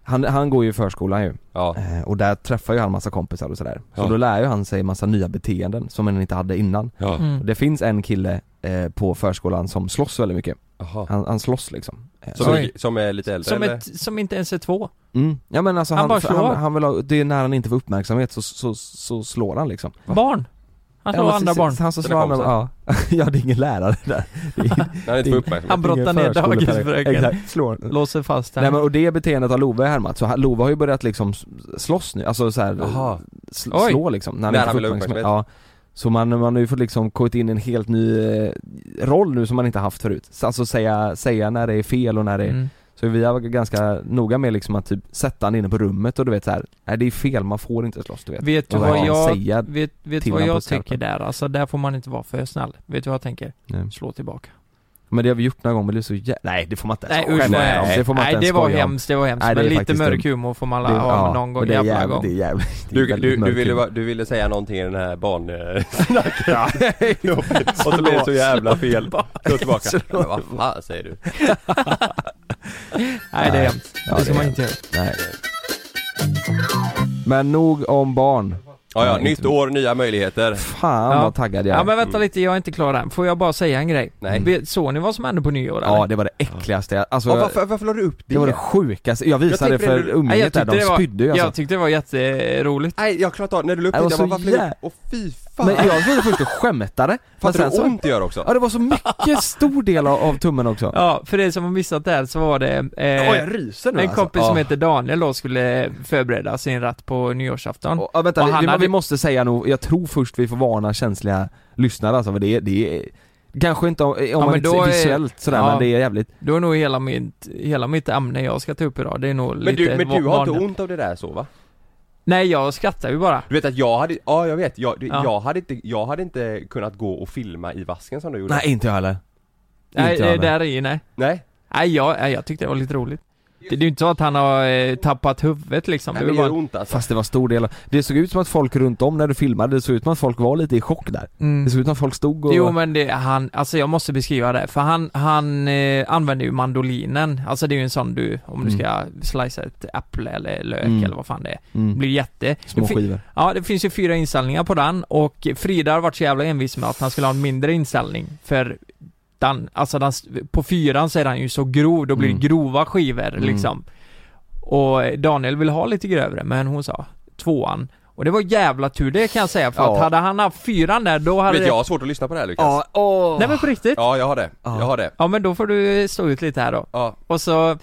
Speaker 2: han, han går ju i förskolan ju
Speaker 3: Ja,
Speaker 2: Eh, Och där träffar ju han massa kompisar och sådär Så
Speaker 3: Ja.
Speaker 2: då lär ju han sig massa nya beteenden som han inte hade innan
Speaker 3: ja,
Speaker 2: Och
Speaker 1: Mm.
Speaker 2: Det finns en kille eh, på förskolan som slåss väldigt mycket
Speaker 3: jaha
Speaker 2: Han, han slåss liksom Eh,
Speaker 3: som,
Speaker 1: Sorry.
Speaker 3: är, som är lite äldre
Speaker 1: Som,
Speaker 3: eller?
Speaker 1: ett, som inte ens är två.
Speaker 2: mm. Ja men alltså
Speaker 1: Han
Speaker 2: han,
Speaker 1: bara
Speaker 2: för
Speaker 1: slår.
Speaker 2: han, han vill ha, det är när han inte får uppmärksamhet så, så, så slår han liksom
Speaker 1: Barn. Han slår
Speaker 2: Ja, men
Speaker 1: andra
Speaker 2: så-
Speaker 1: barn.
Speaker 2: så- Han som
Speaker 3: Sina
Speaker 2: slår andra,
Speaker 3: kompisar.
Speaker 2: ja. ja det är ingen lärare där Det är-
Speaker 3: När han inte får uppmärksamhet?
Speaker 1: Han brottar
Speaker 2: ingen
Speaker 1: ner
Speaker 2: förskolepedagog.
Speaker 1: dagisfröken.
Speaker 2: Exakt, slår
Speaker 1: Låser fast
Speaker 2: Nej men
Speaker 1: henne.
Speaker 2: och det beteendet har Love härmat, så han- Love har ju börjat liksom s- slåss nu, alltså så här,
Speaker 3: Jaha.
Speaker 2: sl-
Speaker 1: Oj.
Speaker 2: slå liksom när han,
Speaker 3: När
Speaker 2: inte
Speaker 3: han
Speaker 2: får
Speaker 3: vill ha
Speaker 2: uppmärksamhet. Ja. Så man, man har ju fått liksom kommit in i en helt ny eh, roll nu som man inte haft förut. Så Alltså säga, säga när det är fel och när det är...
Speaker 1: Mm.
Speaker 2: Så vi har varit ganska noga med liksom att typ sätta han inne på rummet och du vet så här. nej det är fel, man får inte slåss du vet.
Speaker 1: Vet du
Speaker 2: Och
Speaker 1: vad
Speaker 2: verkligen
Speaker 1: jag,
Speaker 2: säga
Speaker 1: vet, vet
Speaker 2: till
Speaker 1: vad
Speaker 2: honom på
Speaker 1: jag
Speaker 2: skarpen.
Speaker 1: tycker där? Alltså där får man inte vara för snäll. Vet du vad jag tänker?
Speaker 2: Nej.
Speaker 1: Slå tillbaka.
Speaker 2: Men det har vi gjort några gånger, men det är så jä... Nej det får man inte
Speaker 1: Nej
Speaker 2: ens
Speaker 1: usch
Speaker 2: skämta
Speaker 1: vad
Speaker 2: om.
Speaker 1: hemskt.
Speaker 2: Det får man
Speaker 1: Nej
Speaker 2: inte
Speaker 1: det
Speaker 2: ens
Speaker 1: var
Speaker 2: skoja om.
Speaker 1: hemskt, det var hemskt.
Speaker 2: Nej, det
Speaker 1: men
Speaker 2: är
Speaker 1: lite
Speaker 2: faktiskt
Speaker 1: mörk
Speaker 2: dumt.
Speaker 1: humor får man alla
Speaker 2: Det-
Speaker 1: ha
Speaker 2: ja,
Speaker 1: någon gång,
Speaker 2: och det är
Speaker 1: jävla
Speaker 2: jävligt-
Speaker 1: gång.
Speaker 2: Det är jävligt, det är
Speaker 3: Du, du,
Speaker 2: väldigt
Speaker 3: du,
Speaker 2: mörk
Speaker 3: ville,
Speaker 2: humor.
Speaker 3: bara- du ville säga någonting i den här barn... eh, snacket. och så blev det så jävla fel. Slå tillbaka. Men vad fan säger du?
Speaker 1: Nej det är
Speaker 2: Nej.
Speaker 1: hemskt.
Speaker 2: Ja,
Speaker 1: det ska
Speaker 2: det
Speaker 1: man
Speaker 2: är
Speaker 1: inte göra.
Speaker 2: Nej. Men nog om barn.
Speaker 3: Ja, ja,
Speaker 2: Nej,
Speaker 3: nytt
Speaker 2: inte-
Speaker 3: år, nya möjligheter.
Speaker 2: Fan
Speaker 1: Ja.
Speaker 2: vad taggad jag är.
Speaker 1: Ja men vänta lite, jag är inte klar än. Får jag bara säga en grej?
Speaker 3: Nej.
Speaker 1: Vet- Såg ni vad som hände på nyår eller?
Speaker 2: ja det var det äckligaste jag, alltså,
Speaker 3: Ja,
Speaker 2: jag-
Speaker 3: varför, varför la du upp det?
Speaker 2: det var det sjukaste. Jag visade
Speaker 3: Jag tänkte
Speaker 2: det för
Speaker 3: det-
Speaker 1: Nej,
Speaker 2: umgänget där, de
Speaker 1: det var,
Speaker 2: spydde ju
Speaker 1: Jag
Speaker 2: alltså.
Speaker 1: tyckte det var jätteroligt.
Speaker 3: Nej, jag klarade av när du la upp det.
Speaker 2: Det var
Speaker 3: Jag bara, varför
Speaker 2: så
Speaker 3: la du
Speaker 2: jä-
Speaker 3: upp? Åh fy fan.
Speaker 2: Men jag trodde först du skämtade. Men
Speaker 3: Fattar
Speaker 2: sen
Speaker 3: du hur
Speaker 2: så,
Speaker 3: ont det gör också?
Speaker 2: ja det var så mycket stor del av, av tummen också.
Speaker 1: Ja, för er som har missat det här så var det
Speaker 2: Oj,
Speaker 1: eh,
Speaker 2: jag ryser nu
Speaker 1: en
Speaker 2: alltså.
Speaker 1: kompis som
Speaker 2: Ja.
Speaker 1: heter Daniel då skulle förbereda sin ratt på nyårsafton.
Speaker 2: Och- Ja, vänta,
Speaker 1: Och
Speaker 2: vi,
Speaker 1: han
Speaker 2: vi,
Speaker 1: hade-
Speaker 2: vi måste säga nog, jag tror först vi får varna känsliga lyssnare alltså, för det, det är Kanske inte om, om man
Speaker 1: men
Speaker 2: inte
Speaker 1: då
Speaker 2: ser
Speaker 1: är-
Speaker 2: visuellt sådär
Speaker 1: ja.
Speaker 2: men det är jävligt
Speaker 1: Då är nog hela mitt, hela mitt ämne jag ska ta upp idag, det är nog
Speaker 3: Men
Speaker 1: lite
Speaker 3: du, men du har
Speaker 1: vanligt.
Speaker 3: inte ont av det där så va?
Speaker 1: Nej, jag skrattar ju bara.
Speaker 3: Du vet att jag hade, ja jag vet, jag, du-
Speaker 1: Ja.
Speaker 3: jag, hade inte, jag hade inte kunnat gå och filma i vasken som du gjorde
Speaker 2: Nej inte jag heller
Speaker 1: Nej,
Speaker 2: Inte jag
Speaker 1: eh,
Speaker 2: heller.
Speaker 1: där i, nej.
Speaker 3: Nej?
Speaker 1: Nej, jag, nej, jag tyckte det var lite roligt. Det, det är ju inte så att han har eh, tappat huvudet liksom.
Speaker 3: Nej
Speaker 1: det
Speaker 3: men det
Speaker 1: var
Speaker 3: gör
Speaker 1: bara...
Speaker 3: ont alltså
Speaker 2: Fast det var stor del av, det såg ut som att folk runt om när du filmade, det såg ut som att folk var lite i chock där
Speaker 1: mm.
Speaker 2: Det såg ut som att folk stod och...
Speaker 1: Jo men det, han, alltså jag måste beskriva det, för han, han eh, använder ju mandolinen, alltså det är ju en sån du, om du
Speaker 2: Mm.
Speaker 1: ska slicea ett äpple eller lök
Speaker 2: Mm.
Speaker 1: eller vad fan det är, det
Speaker 2: mm.
Speaker 1: blir jätte.
Speaker 2: Små
Speaker 1: det, fi-
Speaker 2: skivor
Speaker 1: ja det finns ju fyra inställningar på den och Frida har varit så jävla envis med att han skulle ha en mindre inställning, för den, alltså den, på fyran så är den ju så grov, då blir det
Speaker 2: Mm.
Speaker 1: grova skivor
Speaker 2: Mm.
Speaker 1: liksom. Och Daniel vill ha lite grövre, men hon sa tvåan. Och det var jävla tur det kan jag säga, för
Speaker 2: Ja.
Speaker 1: att hade han haft fyran där då hade
Speaker 3: Vet
Speaker 1: det...
Speaker 3: jag har svårt att lyssna på det här Lukas Ja,
Speaker 2: åh!
Speaker 1: Nej men på riktigt!
Speaker 3: jag har det,
Speaker 2: Ja.
Speaker 3: jag har det
Speaker 1: Ja men då får du stå ut lite här då.
Speaker 3: Ja,
Speaker 1: Och så,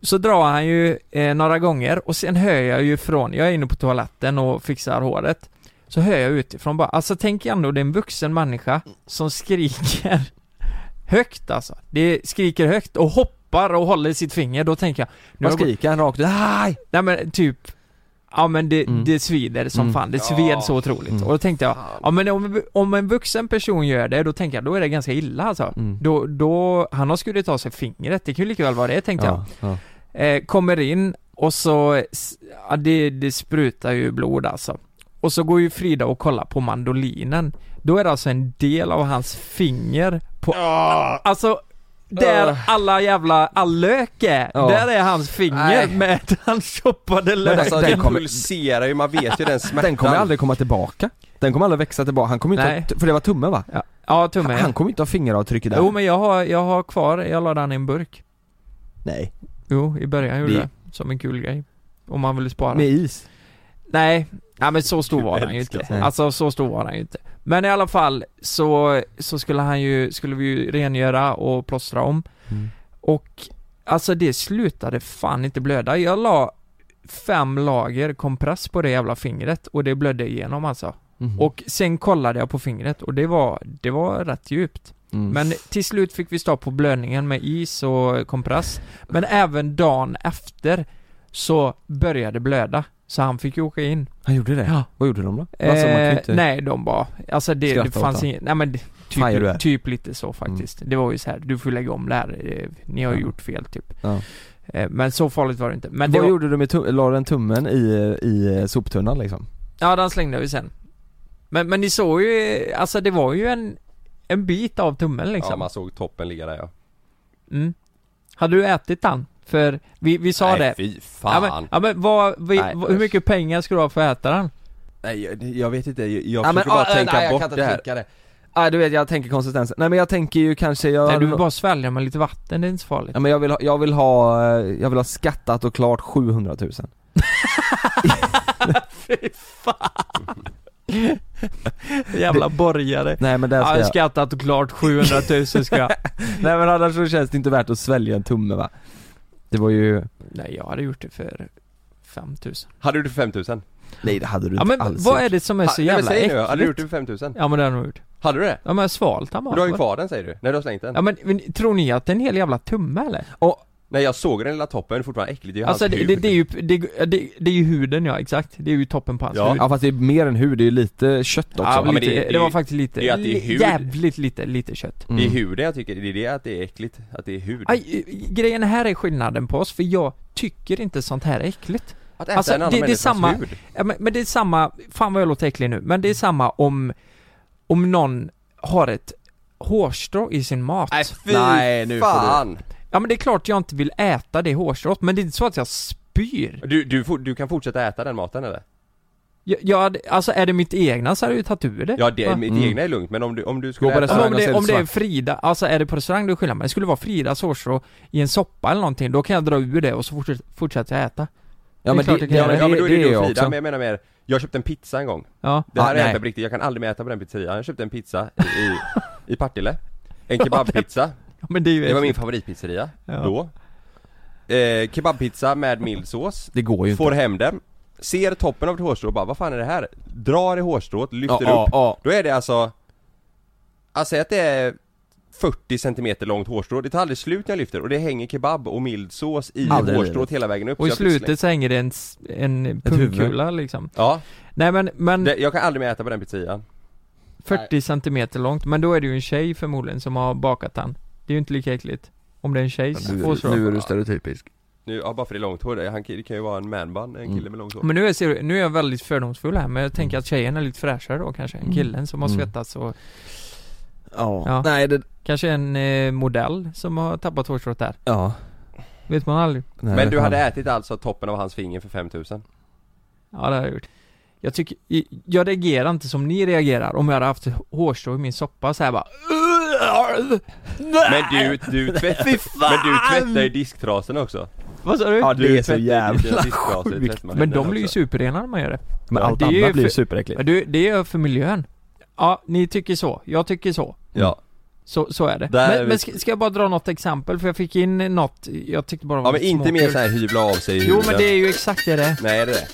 Speaker 1: så drar han ju eh, några gånger och sen hör jag ju från, jag är inne på toaletten och fixar håret. Så hör jag utifrån bara, alltså tänk ändå det är en vuxen människa som skriker högt alltså. Det skriker högt och hoppar och håller sitt finger, då tänker jag, nu har
Speaker 2: Man
Speaker 1: jag gått,
Speaker 2: skriker han rakt ut, aj!
Speaker 1: nej men typ Ja men det,
Speaker 2: Mm.
Speaker 1: det svider som
Speaker 2: Mm.
Speaker 1: fan, det
Speaker 3: Ja.
Speaker 1: sved så otroligt.
Speaker 2: Mm.
Speaker 1: Och då tänkte jag,
Speaker 3: fan.
Speaker 1: ja men om, om en vuxen person gör det, då tänker jag, då är det ganska illa alltså.
Speaker 2: Mm.
Speaker 1: Då, då, han har skurit av sig fingret, det kan ju lika väl vara det tänkte
Speaker 2: Ja, ja.
Speaker 1: jag. Eh, kommer in och så, s- ja, det, det sprutar ju blod alltså. Och så går ju Frida och kollar på mandolinen. Då är det alltså en del av hans finger på, alltså där
Speaker 2: Ah.
Speaker 1: alla jävla, all lök är,
Speaker 2: Ja.
Speaker 1: där är hans finger
Speaker 2: Nej.
Speaker 1: med den choppade
Speaker 3: Men
Speaker 1: löken.
Speaker 3: alltså
Speaker 2: den
Speaker 3: den
Speaker 2: kommer-
Speaker 3: pulserar ju, man vet ju den smärtan
Speaker 2: Den kommer aldrig komma tillbaka Den kommer aldrig växa tillbaka, han kommer inte
Speaker 1: Nej.
Speaker 2: ha, för det var tummen va?
Speaker 1: Ja, ja tummen
Speaker 2: Han
Speaker 1: ja.
Speaker 2: kommer inte ha fingeravtrycket där
Speaker 1: Jo men jag har, jag har kvar, jag la den i en burk.
Speaker 2: Nej,
Speaker 1: Jo, i början gjorde
Speaker 2: Det-
Speaker 1: jag det. Som en kul grej. Om man ville spara.
Speaker 2: med is
Speaker 1: Nej, nej men så stor
Speaker 3: Du
Speaker 1: var han ju
Speaker 3: älskar
Speaker 1: inte.
Speaker 2: sånt.
Speaker 1: Alltså så stor var han ju inte. Men i alla fall så, så skulle han ju, skulle vi ju rengöra och plåstra om. Och alltså det slutade fan inte blöda. Jag la fem lager kompress på det jävla fingret och det blödde igenom alltså.
Speaker 2: Mhm.
Speaker 1: Och sen kollade jag på fingret och det var, det var rätt djupt.
Speaker 2: Mm.
Speaker 1: Men till slut fick vi stopp på blödningen med is och kompress. Men även dagen efter så började det blöda. Så han fick ju åka in.
Speaker 2: Han gjorde det?
Speaker 1: Ja.
Speaker 2: Vad gjorde de då? Alltså, man kan ju
Speaker 1: Eh,
Speaker 2: inte...
Speaker 1: nej, de bara, alltså det, det
Speaker 2: Skratta åt
Speaker 1: fanns
Speaker 2: honom.
Speaker 1: inget, nej men det-
Speaker 2: Fan, gör du det? Mm.
Speaker 1: typ, typ lite så faktiskt. Det var ju så här, du får lägga om det här, eh, ni har ju
Speaker 2: Ja.
Speaker 1: gjort fel typ.
Speaker 2: Ja.
Speaker 1: Eh, men så farligt var det inte. Men det
Speaker 2: Vad
Speaker 1: var,
Speaker 2: gjorde du med tum- la den tummen i, i soptunnan liksom?
Speaker 1: ja den slängde vi sen. Men, men ni såg ju, eh, alltså det var ju en, en bit av tummen
Speaker 3: Ja,
Speaker 1: liksom.
Speaker 3: man såg toppen ligga där ja
Speaker 1: mm. Hade du ätit den? För vi, vi sa
Speaker 3: Nej,
Speaker 1: det.
Speaker 3: fy fan.
Speaker 1: Ja men, ja, men vad, vi,
Speaker 3: Nej,
Speaker 1: vad, hur
Speaker 3: usch.
Speaker 1: mycket pengar ska du ha för att äta den?
Speaker 3: Nej, jag, jag vet inte, jag, jag
Speaker 2: Ja,
Speaker 3: försöker bara
Speaker 2: ah,
Speaker 3: tänka
Speaker 2: nej, jag
Speaker 3: bort
Speaker 2: kan
Speaker 3: det
Speaker 2: inte
Speaker 3: här.
Speaker 2: trycka det. Nej du vet jag tänker konsistensen. Nej men jag tänker ju kanske jag...
Speaker 1: Nej du vill bara svälja med lite vatten, det är inte så farligt.
Speaker 2: Ja, men jag vill, ha, jag vill ha, eh, jag vill ha skattat och klart 700 000
Speaker 1: Jävla borgare.
Speaker 2: Nej men där ska
Speaker 1: Ja,
Speaker 2: jag,
Speaker 1: skattat och klart 700 000 ska jag.
Speaker 2: nej men annars så känns det inte värt att svälja en tumme va? Det var ju,
Speaker 1: Nej jag hade gjort det för 5000
Speaker 3: Hade du det för 5000?
Speaker 2: nej det hade du
Speaker 1: Ja
Speaker 2: inte
Speaker 1: men
Speaker 2: alls
Speaker 1: vad
Speaker 2: gjort.
Speaker 1: är det som är
Speaker 3: Ha-
Speaker 1: så
Speaker 3: nej, men
Speaker 1: jävla
Speaker 3: säg nu, hade du gjort
Speaker 1: äckligt?
Speaker 3: det för 5000?
Speaker 1: Ja men det har jag nog gjort.
Speaker 3: Hade du det?
Speaker 1: Ja men jag har svalt han bara.
Speaker 3: Du har ju kvar den säger du? När du har slängt den?
Speaker 1: Ja men men tror ni att det är en hel jävla tumme eller?
Speaker 3: Nej jag såg den lilla toppen, fortfarande äckligt, det är ju
Speaker 1: Alltså
Speaker 3: hans
Speaker 1: det,
Speaker 3: hud.
Speaker 1: det, det är ju, det, det, det är ju huden ja exakt, det är ju toppen på hans
Speaker 3: Ja.
Speaker 1: hud
Speaker 2: Ja fast det är mer än hud, det är ju lite kött också
Speaker 1: Ja,
Speaker 3: men
Speaker 1: lite,
Speaker 3: det
Speaker 1: det,
Speaker 3: är-
Speaker 1: var
Speaker 3: det-
Speaker 1: faktiskt lite,
Speaker 3: det är att det är hud.
Speaker 1: jävligt lite, lite kött
Speaker 3: Det är
Speaker 2: Mm.
Speaker 3: huden jag tycker, det är det att det är äckligt, att det är hud.
Speaker 1: Mm. Aj, eh, grejen här är skillnaden på oss, för jag tycker inte sånt här är äckligt
Speaker 3: att äta
Speaker 1: alltså,
Speaker 3: en annan
Speaker 1: det- det är
Speaker 3: människas
Speaker 1: samma-
Speaker 3: hud.
Speaker 1: ja, men, men det är samma, fan vad jag låter äcklig nu, men det är samma om, om någon har ett hårstrå i sin mat
Speaker 3: Nej fy
Speaker 2: Nej, nu får du-
Speaker 3: fan!
Speaker 1: Ja men det är klart jag inte vill äta det hårstrået, men det är inte så att jag spyr
Speaker 3: Du, du, får- du kan fortsätta äta den maten eller?
Speaker 1: jag, jag, hade- Alltså är det mitt egna så hade jag ju tagit ur det
Speaker 3: Ja det,
Speaker 1: Va?
Speaker 3: mitt
Speaker 2: Mm.
Speaker 3: egna är lugnt men om du, om du
Speaker 2: Gå på
Speaker 3: skulle äta...
Speaker 1: Ja,
Speaker 2: restaurang.
Speaker 1: men om, det,
Speaker 2: och
Speaker 1: om det är
Speaker 2: svart.
Speaker 1: Frida, alltså är det på restaurang det är skillnad, men det skulle vara Fridas hårstrå i en soppa eller någonting, då kan jag dra ur det och så fortsätter, fortsätter jag äta
Speaker 2: Ja men
Speaker 1: det är klart
Speaker 2: det,
Speaker 1: det
Speaker 2: det,
Speaker 1: kan
Speaker 2: ja,
Speaker 1: jag göra.
Speaker 2: men
Speaker 3: ja men då är det
Speaker 2: det
Speaker 3: du
Speaker 2: är jag
Speaker 3: och Frida,
Speaker 2: också
Speaker 3: men jag menar mer, jag köpte en pizza en gång.
Speaker 1: Ja,
Speaker 3: Det här
Speaker 2: Ah,
Speaker 3: är
Speaker 2: nej.
Speaker 3: inte på riktigt, jag kan aldrig mer äta på den pizzerian. Jag köpte en pizza i, i Partille. En kebabpizza.
Speaker 1: Ja, men det är ju
Speaker 3: Det var min favoritpizzeria,
Speaker 1: Ja.
Speaker 3: då. Eh, kebabpizza med mild sås.
Speaker 2: Det går ju inte
Speaker 3: Får hem den. Ser toppen av ett hårstrå och bara, vad fan är det här? Drar i hårstrået, lyfter upp.
Speaker 2: ja, ja.
Speaker 3: Då är det alltså Alltså säg att det är 40 cm långt hårstrå, det tar aldrig slut när jag lyfter och det hänger kebab och mild sås i
Speaker 2: Aldrig i
Speaker 3: hårstrået
Speaker 2: livet.
Speaker 3: hela vägen upp
Speaker 1: Och i
Speaker 3: så jag fick slänga-
Speaker 1: slutet så hänger det en, s- en
Speaker 2: huvud.
Speaker 1: pungkula liksom
Speaker 3: Ja,
Speaker 1: Nej men, men
Speaker 3: det, jag kan aldrig mer äta på den pizzerian
Speaker 1: 40 centimeter långt, men då är det ju en tjej förmodligen som har bakat han Det är ju inte lika äckligt Om det är en tjej som får så
Speaker 2: är du stereotypisk
Speaker 3: Nu, ja bara för det är långt hår, det- han, det kan ju vara en manbun, en kille med långt hår
Speaker 1: Mm. men nu är, ser du, nu är jag väldigt fördomsfull här, men jag tänker att tjejen är lite fräschare då kanske, än killen som har
Speaker 2: Mm.
Speaker 1: svettats och
Speaker 2: Ja,
Speaker 1: Ja.
Speaker 2: nej det,
Speaker 1: Kanske en eh, modell som har tappat hårstrået där,
Speaker 2: ja
Speaker 1: vet man aldrig
Speaker 2: nej,
Speaker 3: Men
Speaker 2: fan.
Speaker 3: du hade ätit alltså toppen av hans finger för 5000?
Speaker 1: Ja det har jag gjort Jag tycker, jag reagerar inte som ni reagerar om jag hade haft hårstrå i min soppa så här bara
Speaker 3: Men du, du tvätt, men du tvättar ju disktrasen också
Speaker 1: Vad sa du?
Speaker 2: Ja
Speaker 3: Du
Speaker 2: det är så
Speaker 3: tvättar ju dina
Speaker 2: jävla
Speaker 3: disktraser i
Speaker 2: sjukt.
Speaker 3: tvättmaskinen
Speaker 1: men de blir ju
Speaker 3: också.
Speaker 1: superrena när man gör det
Speaker 2: Men
Speaker 1: Ja,
Speaker 2: allt
Speaker 1: det är ju
Speaker 2: annat blir ju
Speaker 1: för-
Speaker 2: superäckligt
Speaker 1: Men du, det gör jag för miljön Ja, ni tycker så, jag tycker så
Speaker 3: Ja,
Speaker 1: Så, så är det
Speaker 3: Där är
Speaker 1: Men,
Speaker 3: vi-
Speaker 1: men ska, ska jag bara dra något exempel? För jag fick in något, jag tyckte bara det var
Speaker 3: ja men
Speaker 1: lite
Speaker 3: inte mer
Speaker 1: småkul.
Speaker 3: såhär hyvla av sig i
Speaker 1: Jo men
Speaker 3: huden.
Speaker 1: det är ju exakt det det är.
Speaker 3: Nej det är det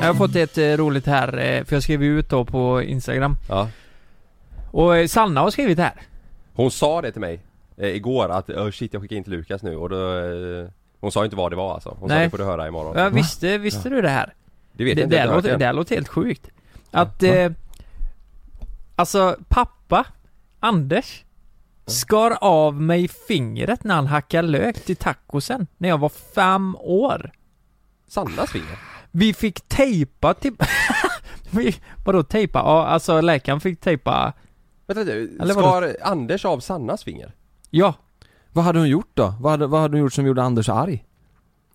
Speaker 1: Jag har fått ett eh, roligt här, eh, för jag skrev ju ut då på Instagram
Speaker 3: Ja
Speaker 1: Och eh, Sanna har skrivit här
Speaker 3: Hon sa det till mig eh, igår att oh, shit jag skickar in till Lukas nu och då eh, Hon sa inte vad det var alltså, hon sa
Speaker 1: Nej.
Speaker 3: det får du höra imorgon
Speaker 1: ja, Visste, visste du det här?
Speaker 3: Det vet
Speaker 1: Det,
Speaker 3: jag inte,
Speaker 1: det,
Speaker 3: jag
Speaker 1: här
Speaker 3: har
Speaker 1: låter,
Speaker 3: inte hört
Speaker 1: det
Speaker 3: det
Speaker 1: här låter helt sjukt. Att, eh, alltså pappa, Anders, skar av mig fingret när han hackade lök till tacosen när jag var fem år.
Speaker 3: Sannas finger?
Speaker 1: Vi fick tejpa till... Vi, vadå tejpa? Ja, alltså läkaren fick tejpa...
Speaker 3: Vänta lite,
Speaker 1: Eller
Speaker 3: skar Anders av Sannas finger?
Speaker 1: Ja.
Speaker 2: Vad hade hon gjort då? Vad hade, vad hade hon gjort som gjorde Anders arg?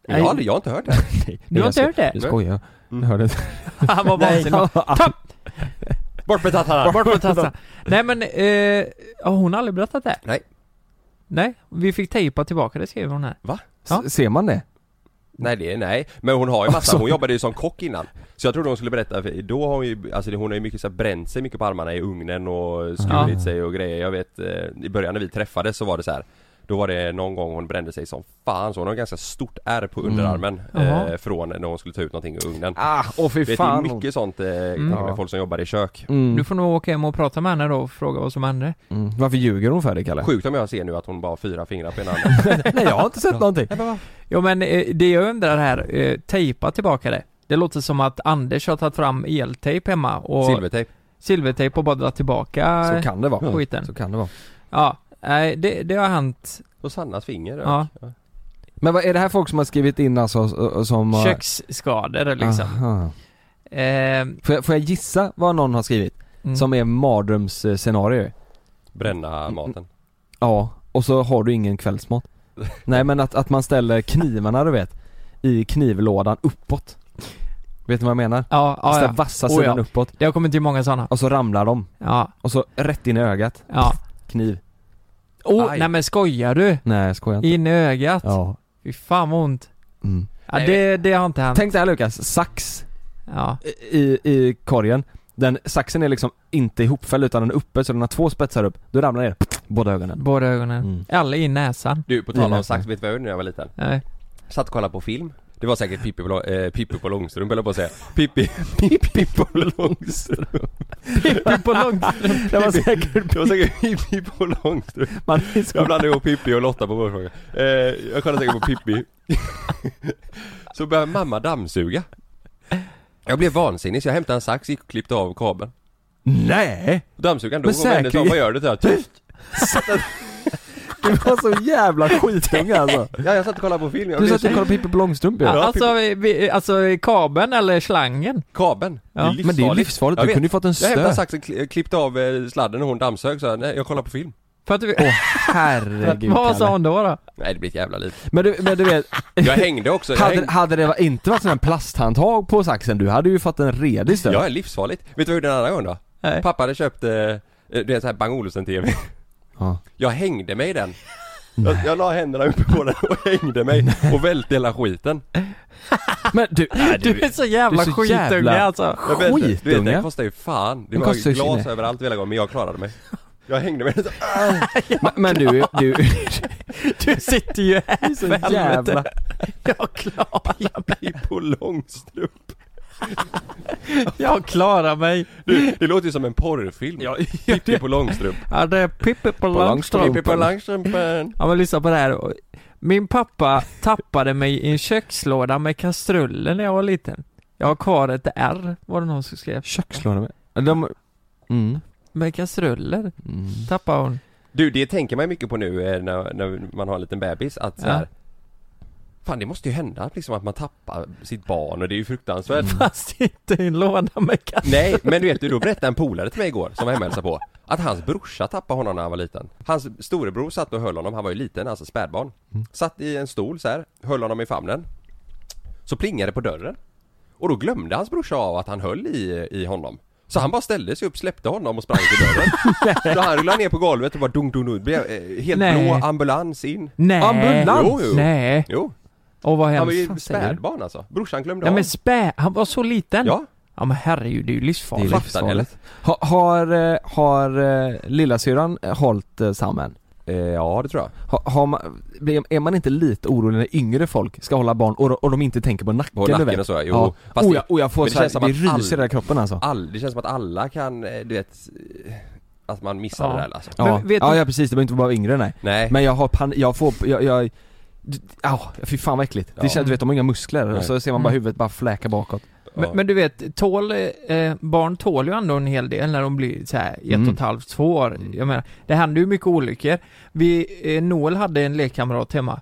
Speaker 3: Jag
Speaker 1: Nej.
Speaker 3: har, aldrig, jag har inte hört det här.
Speaker 2: Nej,
Speaker 1: Du har inte hört det? Mm.
Speaker 2: Jag skojar, jag hörde inte
Speaker 1: Han var vansinnig.
Speaker 3: Bort med tattarna!
Speaker 1: Bort med tassarna. Nej men, eh, ja, hon har aldrig berättat det?
Speaker 3: Nej.
Speaker 1: Nej, vi fick tejpa tillbaka det skrev hon här. Ja.
Speaker 2: S- Alltså, Ser man det?
Speaker 3: Nej det är nej, men hon har ju massa, hon jobbade ju som kock innan Så jag trodde hon skulle berätta, för då har hon ju, alltså det- hon har ju mycket så här, bränt sig mycket på armarna i ugnen och skurit
Speaker 1: Ja.
Speaker 3: sig och grejer Jag vet, eh, i början när vi träffades så var det så här. Då var det någon gång hon brände sig som fan så hon har ganska stort ärr på underarmen eh,
Speaker 1: Jaha.
Speaker 3: Från när hon skulle ta ut någonting ur ugnen
Speaker 2: Ah, åh fy
Speaker 3: Vet
Speaker 2: fan
Speaker 3: ni mycket sånt eh, med
Speaker 2: Ja.
Speaker 3: folk som jobbar i kök?
Speaker 2: mm.
Speaker 1: Du får nog åka hem och prata med henne då och fråga vad som hände.
Speaker 2: Mm. Varför ljuger hon för dig Kalle?
Speaker 3: Sjukt om jag ser nu att hon bara har fyra fingrar på ena handen
Speaker 2: Nej jag har inte sett någonting
Speaker 1: Ja men eh, det jag undrar här, eh, tejpa tillbaka det. Det låter som att Anders har tagit fram eltejp hemma och
Speaker 3: Silvertejp
Speaker 1: silvertejp och bara dragit tillbaka
Speaker 2: Så kan det vara
Speaker 1: skiten.
Speaker 2: Så kan det vara
Speaker 1: Ja, nej det, det har hänt.
Speaker 3: och Sannas finger
Speaker 1: Ja.
Speaker 2: Men vad, är det här folk som har skrivit in alltså, s- som har...
Speaker 1: Köksskador liksom.
Speaker 2: Aha.
Speaker 1: Eh,
Speaker 2: Får jag, får jag gissa vad någon har skrivit?
Speaker 1: mm.
Speaker 2: Som är mardrömsscenario?
Speaker 3: Bränna maten.
Speaker 2: Ja, och så har du ingen kvällsmat Nej men att, att man ställer knivarna du vet I knivlådan uppåt Vet ni vad jag menar?
Speaker 1: Ja, Ah, ja,
Speaker 2: Alltså
Speaker 1: ja.
Speaker 2: den vassa
Speaker 1: Oh, ja.
Speaker 2: sidan uppåt
Speaker 1: Det har kommit till många sådana.
Speaker 2: Och så ramlar de
Speaker 1: Ja,
Speaker 2: Och så rätt in i ögat
Speaker 1: ja.
Speaker 2: Kniv
Speaker 1: Åh,
Speaker 3: Aj.
Speaker 1: nej men skojar du?
Speaker 2: Nej jag skojar inte
Speaker 1: In i ögat?
Speaker 2: Ja
Speaker 1: Fy fan vad ont.
Speaker 2: mm.
Speaker 1: Ja,
Speaker 3: Nej,
Speaker 1: det, det har inte hänt.
Speaker 2: Tänk dig här Lukas, sax
Speaker 1: Ja.
Speaker 2: i, i korgen den, Saxen är liksom inte ihopfälld utan den är uppe så den har två spetsar upp Då ramlar ner, båda ögonen
Speaker 1: Båda ögonen.
Speaker 2: Mm.
Speaker 1: Eller i näsan.
Speaker 3: Du, på
Speaker 2: Mm,
Speaker 3: tal om
Speaker 2: nästan.
Speaker 3: sax, vet du vad jag gjorde när jag var liten?
Speaker 1: Nej.
Speaker 3: Satt och kollade på film. Det var säkert Pippi på, lång- eh, Pippi på långstrump eller på att säga. Pippi, Pippi på långstrump.
Speaker 1: Pippi på långt.
Speaker 2: Det var säkert
Speaker 3: Det var säkert Pippi på långstrump.
Speaker 2: man
Speaker 3: Jag blandade ihop Pippi och Lotta på vårfrågan. Eh, jag kollade säkert på Pippi. Så började mamma dammsuga. Jag blev vansinnig så jag hämtade en sax, gick och klippte av kabeln.
Speaker 2: Nej!
Speaker 3: Dammsugaren dog
Speaker 2: Men
Speaker 3: och vände sig om,
Speaker 2: säkert-
Speaker 3: vad gör du? Så jag, tyst!
Speaker 2: Det var så jävla skitung alltså
Speaker 3: Ja, jag satt och kollade på film. Jag
Speaker 2: Du
Speaker 3: blev
Speaker 2: satt
Speaker 3: så...
Speaker 2: och kollade på Pippi Långstrump ju.
Speaker 3: Ja,
Speaker 1: Alltså, vi, vi, alltså i kabeln eller slangen?
Speaker 3: Kabeln.
Speaker 1: Ja. Men det är
Speaker 2: Men det är ju livsfarligt,
Speaker 3: Jag
Speaker 2: du
Speaker 3: vet.
Speaker 2: kunde ju fått en
Speaker 3: Jag hämtade
Speaker 2: stöt
Speaker 3: saxen, kli- klippte av eh, sladden och hon dammsög så jag, nej jag kollar på film.
Speaker 1: För att vi,
Speaker 2: Åh herregud
Speaker 1: vad sa
Speaker 2: Kalle.
Speaker 1: hon då? då?
Speaker 3: Nej det blir ett jävla liv.
Speaker 2: Men du, men du vet,
Speaker 3: Jag hängde också, jag,
Speaker 2: hade,
Speaker 3: hängde,
Speaker 2: hade det inte varit sån här plasthandtag på saxen, du hade ju fått en redig stöt
Speaker 3: jag är livsfarligt. Vet du vad jag gjorde en annan gång då?
Speaker 1: Nej.
Speaker 3: Pappa hade köpt, eh, eh, du vet såhär Bang Olufsen-TV.
Speaker 2: Ja.
Speaker 3: Jag hängde mig i den. Jag, jag la händerna uppe på den och hängde mig och välte hela skiten.
Speaker 2: Men du, nej,
Speaker 1: Du är så jävla
Speaker 2: du är så
Speaker 1: skitunge
Speaker 2: jävla-
Speaker 1: alltså.
Speaker 3: Jag välte- Du vet den
Speaker 2: skitunge!
Speaker 3: kostar ju fan. Det
Speaker 2: Den
Speaker 3: var
Speaker 2: kostar ju
Speaker 3: glas
Speaker 2: sinne.
Speaker 3: överallt hela gången men jag klarade mig. Jag hängde mig så,
Speaker 2: Men, men du, du,
Speaker 1: Du sitter ju här för
Speaker 2: så
Speaker 1: helvete.
Speaker 2: jävla...
Speaker 1: Jag klarar,
Speaker 3: i på långstrump.
Speaker 1: jag klarar mig.
Speaker 3: Du, det låter ju som en porrfilm. Pippi på långstrump.
Speaker 1: Ja, det är Pippi på
Speaker 2: långstrump.
Speaker 1: långstrump.
Speaker 3: Pippi på långstrumpen.
Speaker 1: Ja men lyssna på det här. Min pappa tappade mig i en kökslåda med kastruller när jag var liten. Jag har kvar ett R, var det någon som skrev.
Speaker 2: Kökslåda med... De... Mm.
Speaker 1: Med kastruller
Speaker 2: Mm.
Speaker 1: tappade hon.
Speaker 3: Du, det tänker man ju mycket på nu eh, när, när man har en liten bebis att så här,
Speaker 1: Ja.
Speaker 3: Fan det måste ju hända liksom att man tappar sitt barn och det är ju fruktansvärt.
Speaker 1: Fast inte i en låda med kastruller.
Speaker 3: Nej, men du vet du, då berättade en polare till mig igår som var hemma och hälsade på att hans brorsa tappade honom när han var liten. Hans storebror satt och höll honom, han var ju liten, alltså spädbarn.
Speaker 1: Mm.
Speaker 3: Satt i en stol så här, höll honom i famnen. Så plingade det på dörren. Och då glömde hans brorsa av att han höll i, i honom. Så han bara ställde sig upp, släppte honom och sprang till dörren. så han rullade ner på golvet och bara dunk dunk dunk, blev eh, helt
Speaker 1: Nej.
Speaker 3: blå, ambulans in.
Speaker 1: Nej.
Speaker 2: Ambulans?
Speaker 3: Jo, jo.
Speaker 1: Nej.
Speaker 3: Jo,
Speaker 1: Och vad
Speaker 3: han var
Speaker 1: hemskt.
Speaker 3: ju
Speaker 1: Fan, säger du?
Speaker 3: spädbarn alltså. Brorsan glömde
Speaker 1: Ja
Speaker 3: av.
Speaker 1: men spä, han var så liten.
Speaker 3: Ja,
Speaker 1: Ja men herregud, det är ju
Speaker 2: Det är
Speaker 1: livsfarligt.
Speaker 2: livsfarligt. Ha, har, eh, har eh, lillasyrran hållit eh, samman?
Speaker 3: eh, ja det tror jag.
Speaker 2: Ha, har man, blir- är man inte lite orolig när yngre folk ska hålla barn och, och de inte tänker på nacken?
Speaker 3: På
Speaker 2: du
Speaker 3: nacken
Speaker 2: vet?
Speaker 3: och så, jo.
Speaker 2: Ja.
Speaker 3: Fast
Speaker 2: oh,
Speaker 3: det-
Speaker 2: jag, oh, jag får
Speaker 3: men det
Speaker 2: så här,
Speaker 3: känns som
Speaker 2: det
Speaker 3: att all-
Speaker 2: ryser i hela kroppen alltså.
Speaker 3: all, det känns som att alla kan, eh, du vet eh, Att man missar
Speaker 1: Ja.
Speaker 3: det där alltså.
Speaker 2: Ja,
Speaker 1: Men vet
Speaker 2: ja,
Speaker 1: du-
Speaker 2: ja precis, det behöver inte vara yngre nej.
Speaker 3: Nej,
Speaker 2: Men jag har pan... jag får, jag, jag d- Au, fy fan vad äckligt.
Speaker 3: Ja.
Speaker 2: Det känns, du vet de har inga muskler
Speaker 3: Nej.
Speaker 2: och så ser man bara
Speaker 1: Mm.
Speaker 2: huvudet bara fläka bakåt.
Speaker 3: ja.
Speaker 1: Men, men du vet, tål, eh, barn tål ju ändå en hel del när de blir så här ett och
Speaker 2: Mm.
Speaker 1: ett halvt, två år. Jag menar, det händer ju mycket olyckor. Vi, eh, Noel hade en lekkamrat hemma.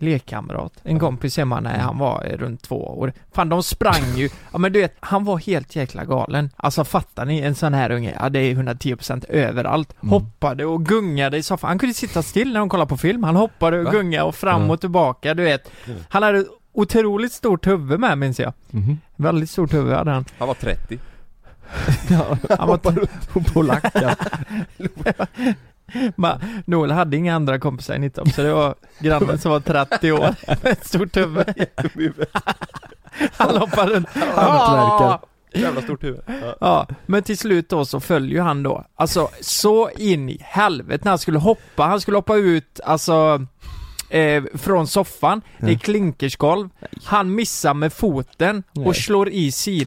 Speaker 1: Lekkamrat? En kompis hemma
Speaker 2: Mm.
Speaker 1: när han var eh, runt två år. Fan de sprang ju. Ja men du vet, han var helt jäkla galen. Alltså fattar ni? En sån här unge, ja det är 110% överallt.
Speaker 2: Mm.
Speaker 1: Hoppade och gungade i soffan. Han kunde sitta still när de kollade på film. Han hoppade och
Speaker 3: Va?
Speaker 1: gungade och fram
Speaker 2: Mm.
Speaker 1: och tillbaka, du vet. Han hade otroligt stort huvud med minns jag.
Speaker 2: Mhm.
Speaker 1: Väldigt stort huvud hade han.
Speaker 3: han var 30
Speaker 2: Ja,
Speaker 1: Han var
Speaker 2: polacken.
Speaker 1: ma, Noel hade inga andra kompisar i 19 så det var grannen som var 30 år med ett stort huvud. Han hoppade runt.
Speaker 2: Hantverkare.
Speaker 3: Jävla stort huvud ja.
Speaker 1: Ja, men till slut då så följer ju han då, alltså så in i helvete när han skulle hoppa, han skulle hoppa ut, alltså eh, från soffan, det är
Speaker 2: Ja.
Speaker 1: klinkersgolv, han missar med foten
Speaker 2: Nej.
Speaker 1: och slår i sidan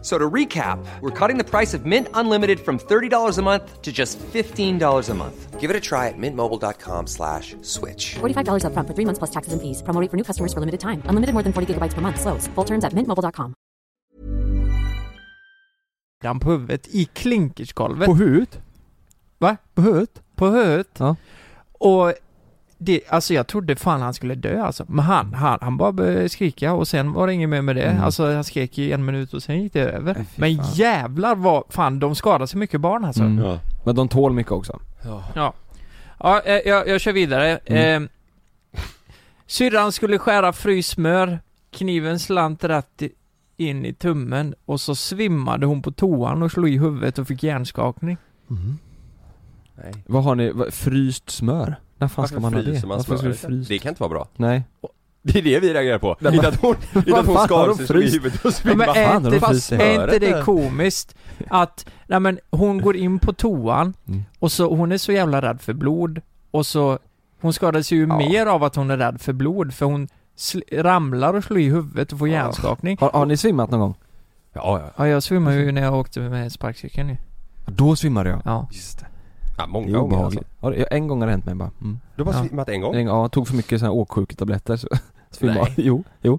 Speaker 4: So to recap, we're cutting the price of Mint Unlimited from $30 a month to just $15 a month. Give it a try at mintmobile.com slash switch.
Speaker 5: $45 upfront for three months plus taxes and fees. Promo rate for new customers for limited time. Unlimited more than 40 gigabytes per month. Slows. Full terms at mintmobile.com.
Speaker 1: Den på huvudet i klinkerskolvet.
Speaker 2: På huvudet?
Speaker 1: Va?
Speaker 2: På huvudet?
Speaker 1: På huvudet.
Speaker 2: Ja.
Speaker 1: Och det, alltså jag trodde fan han skulle dö alltså. Men han, han, han bara började skrika och sen var det inget mer med det.
Speaker 2: Mm.
Speaker 1: Alltså han skrek i en minut och sen gick det över.
Speaker 2: Nej, fy
Speaker 1: Men
Speaker 2: fan.
Speaker 1: jävlar vad, fan de skadar så mycket barn alltså.
Speaker 2: Mm.
Speaker 3: Ja.
Speaker 2: Men de tål mycket också.
Speaker 1: Ja, eh, jag, jag kör vidare.
Speaker 2: Mm.
Speaker 1: Eh, syrran skulle skära frysmör, kniven slant rätt i- in i tummen och så svimmade hon på toan och slog i huvudet och fick hjärnskakning.
Speaker 2: Mhm.
Speaker 3: Nej.
Speaker 2: Vad har ni? vad- Fryst smör? När fan ska
Speaker 3: Varför
Speaker 2: man ha det?
Speaker 3: fryser man
Speaker 2: Varför ska
Speaker 3: smör?
Speaker 2: du frysa?
Speaker 3: Det kan inte vara bra.
Speaker 2: Nej.
Speaker 3: Det är det vi reagerar på.
Speaker 2: Men
Speaker 3: Inte att hon, inte
Speaker 2: Vad
Speaker 3: att hon
Speaker 2: fan har
Speaker 3: skar
Speaker 2: de
Speaker 3: sig så i
Speaker 2: fryst?
Speaker 3: huvudet och
Speaker 1: Ja, men
Speaker 3: svimmade.
Speaker 2: fan,
Speaker 1: är,
Speaker 2: de
Speaker 1: inte,
Speaker 2: fryser i
Speaker 1: är inte
Speaker 3: örat
Speaker 1: det
Speaker 3: där.
Speaker 1: komiskt att, nej men hon går in på toan
Speaker 2: Mm.
Speaker 1: och så, hon är så jävla rädd för blod och så, hon skadas ju
Speaker 2: Ja.
Speaker 1: mer av att hon är rädd för blod för hon sl- ramlar och slår i huvudet och får
Speaker 3: Ja.
Speaker 1: hjärnskakning.
Speaker 2: Har, har ni svimmat någon gång?
Speaker 3: Ja, ja.
Speaker 1: Ja, jag svimmade ju när jag åkte med sparkcykeln ju.
Speaker 2: Då svimmade jag.
Speaker 1: Ja.
Speaker 2: Just det.
Speaker 3: ja
Speaker 2: Det är
Speaker 3: många gånger alltså.
Speaker 2: obehagligt. Ja, det- en gång har det hänt mig bara. Mm.
Speaker 3: Du har bara
Speaker 1: Ja.
Speaker 3: svimmat en gång?
Speaker 2: En, ja, tog för mycket sådana här åksjuketabletter så svimmade
Speaker 3: Nej.
Speaker 2: av. Jo, jo.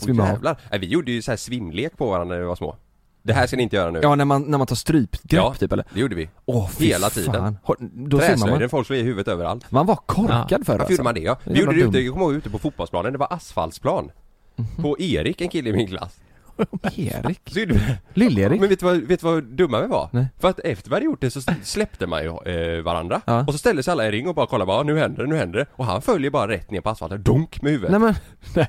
Speaker 3: Åh,
Speaker 2: Svimmade av.
Speaker 3: jävlar. Nej, vi gjorde ju så här svimlek på varandra när vi var små. Det här ska ni inte göra nu.
Speaker 2: Ja, när man, när man tar strypgrepp
Speaker 3: Ja.
Speaker 2: typ eller?
Speaker 3: Det gjorde vi.
Speaker 2: Åh fy
Speaker 3: Hela tiden.
Speaker 2: Fan. Har- Då svimmar man.
Speaker 3: Träslöjden, folk slog i huvudet överallt.
Speaker 2: Man var korkad
Speaker 1: Ja.
Speaker 2: förr
Speaker 3: Varför
Speaker 2: alltså.
Speaker 3: gjorde man det ja?
Speaker 2: Det är
Speaker 3: Vi gjorde det
Speaker 2: jävla
Speaker 3: ute,
Speaker 2: dumt. Mhm.
Speaker 3: jag kommer ihåg ute på fotbollsplanen, det var asfaltsplan. På Erik, en kille i min klass.
Speaker 2: Erik?
Speaker 3: Så gjorde vi-
Speaker 2: Lill-Erik?
Speaker 3: Men vet du, vad, vet du vad dumma vi var?
Speaker 2: Nej.
Speaker 3: För att efter vi hade gjort det så släppte man ju eh, varandra.
Speaker 2: Ja.
Speaker 3: Och så ställde sig alla i en ring och bara kollade bara, "Ah, nu händer det, nu händer det. Och han följer bara rätt ner på asfalten, dunk med huvudet.
Speaker 2: Nej men, nej.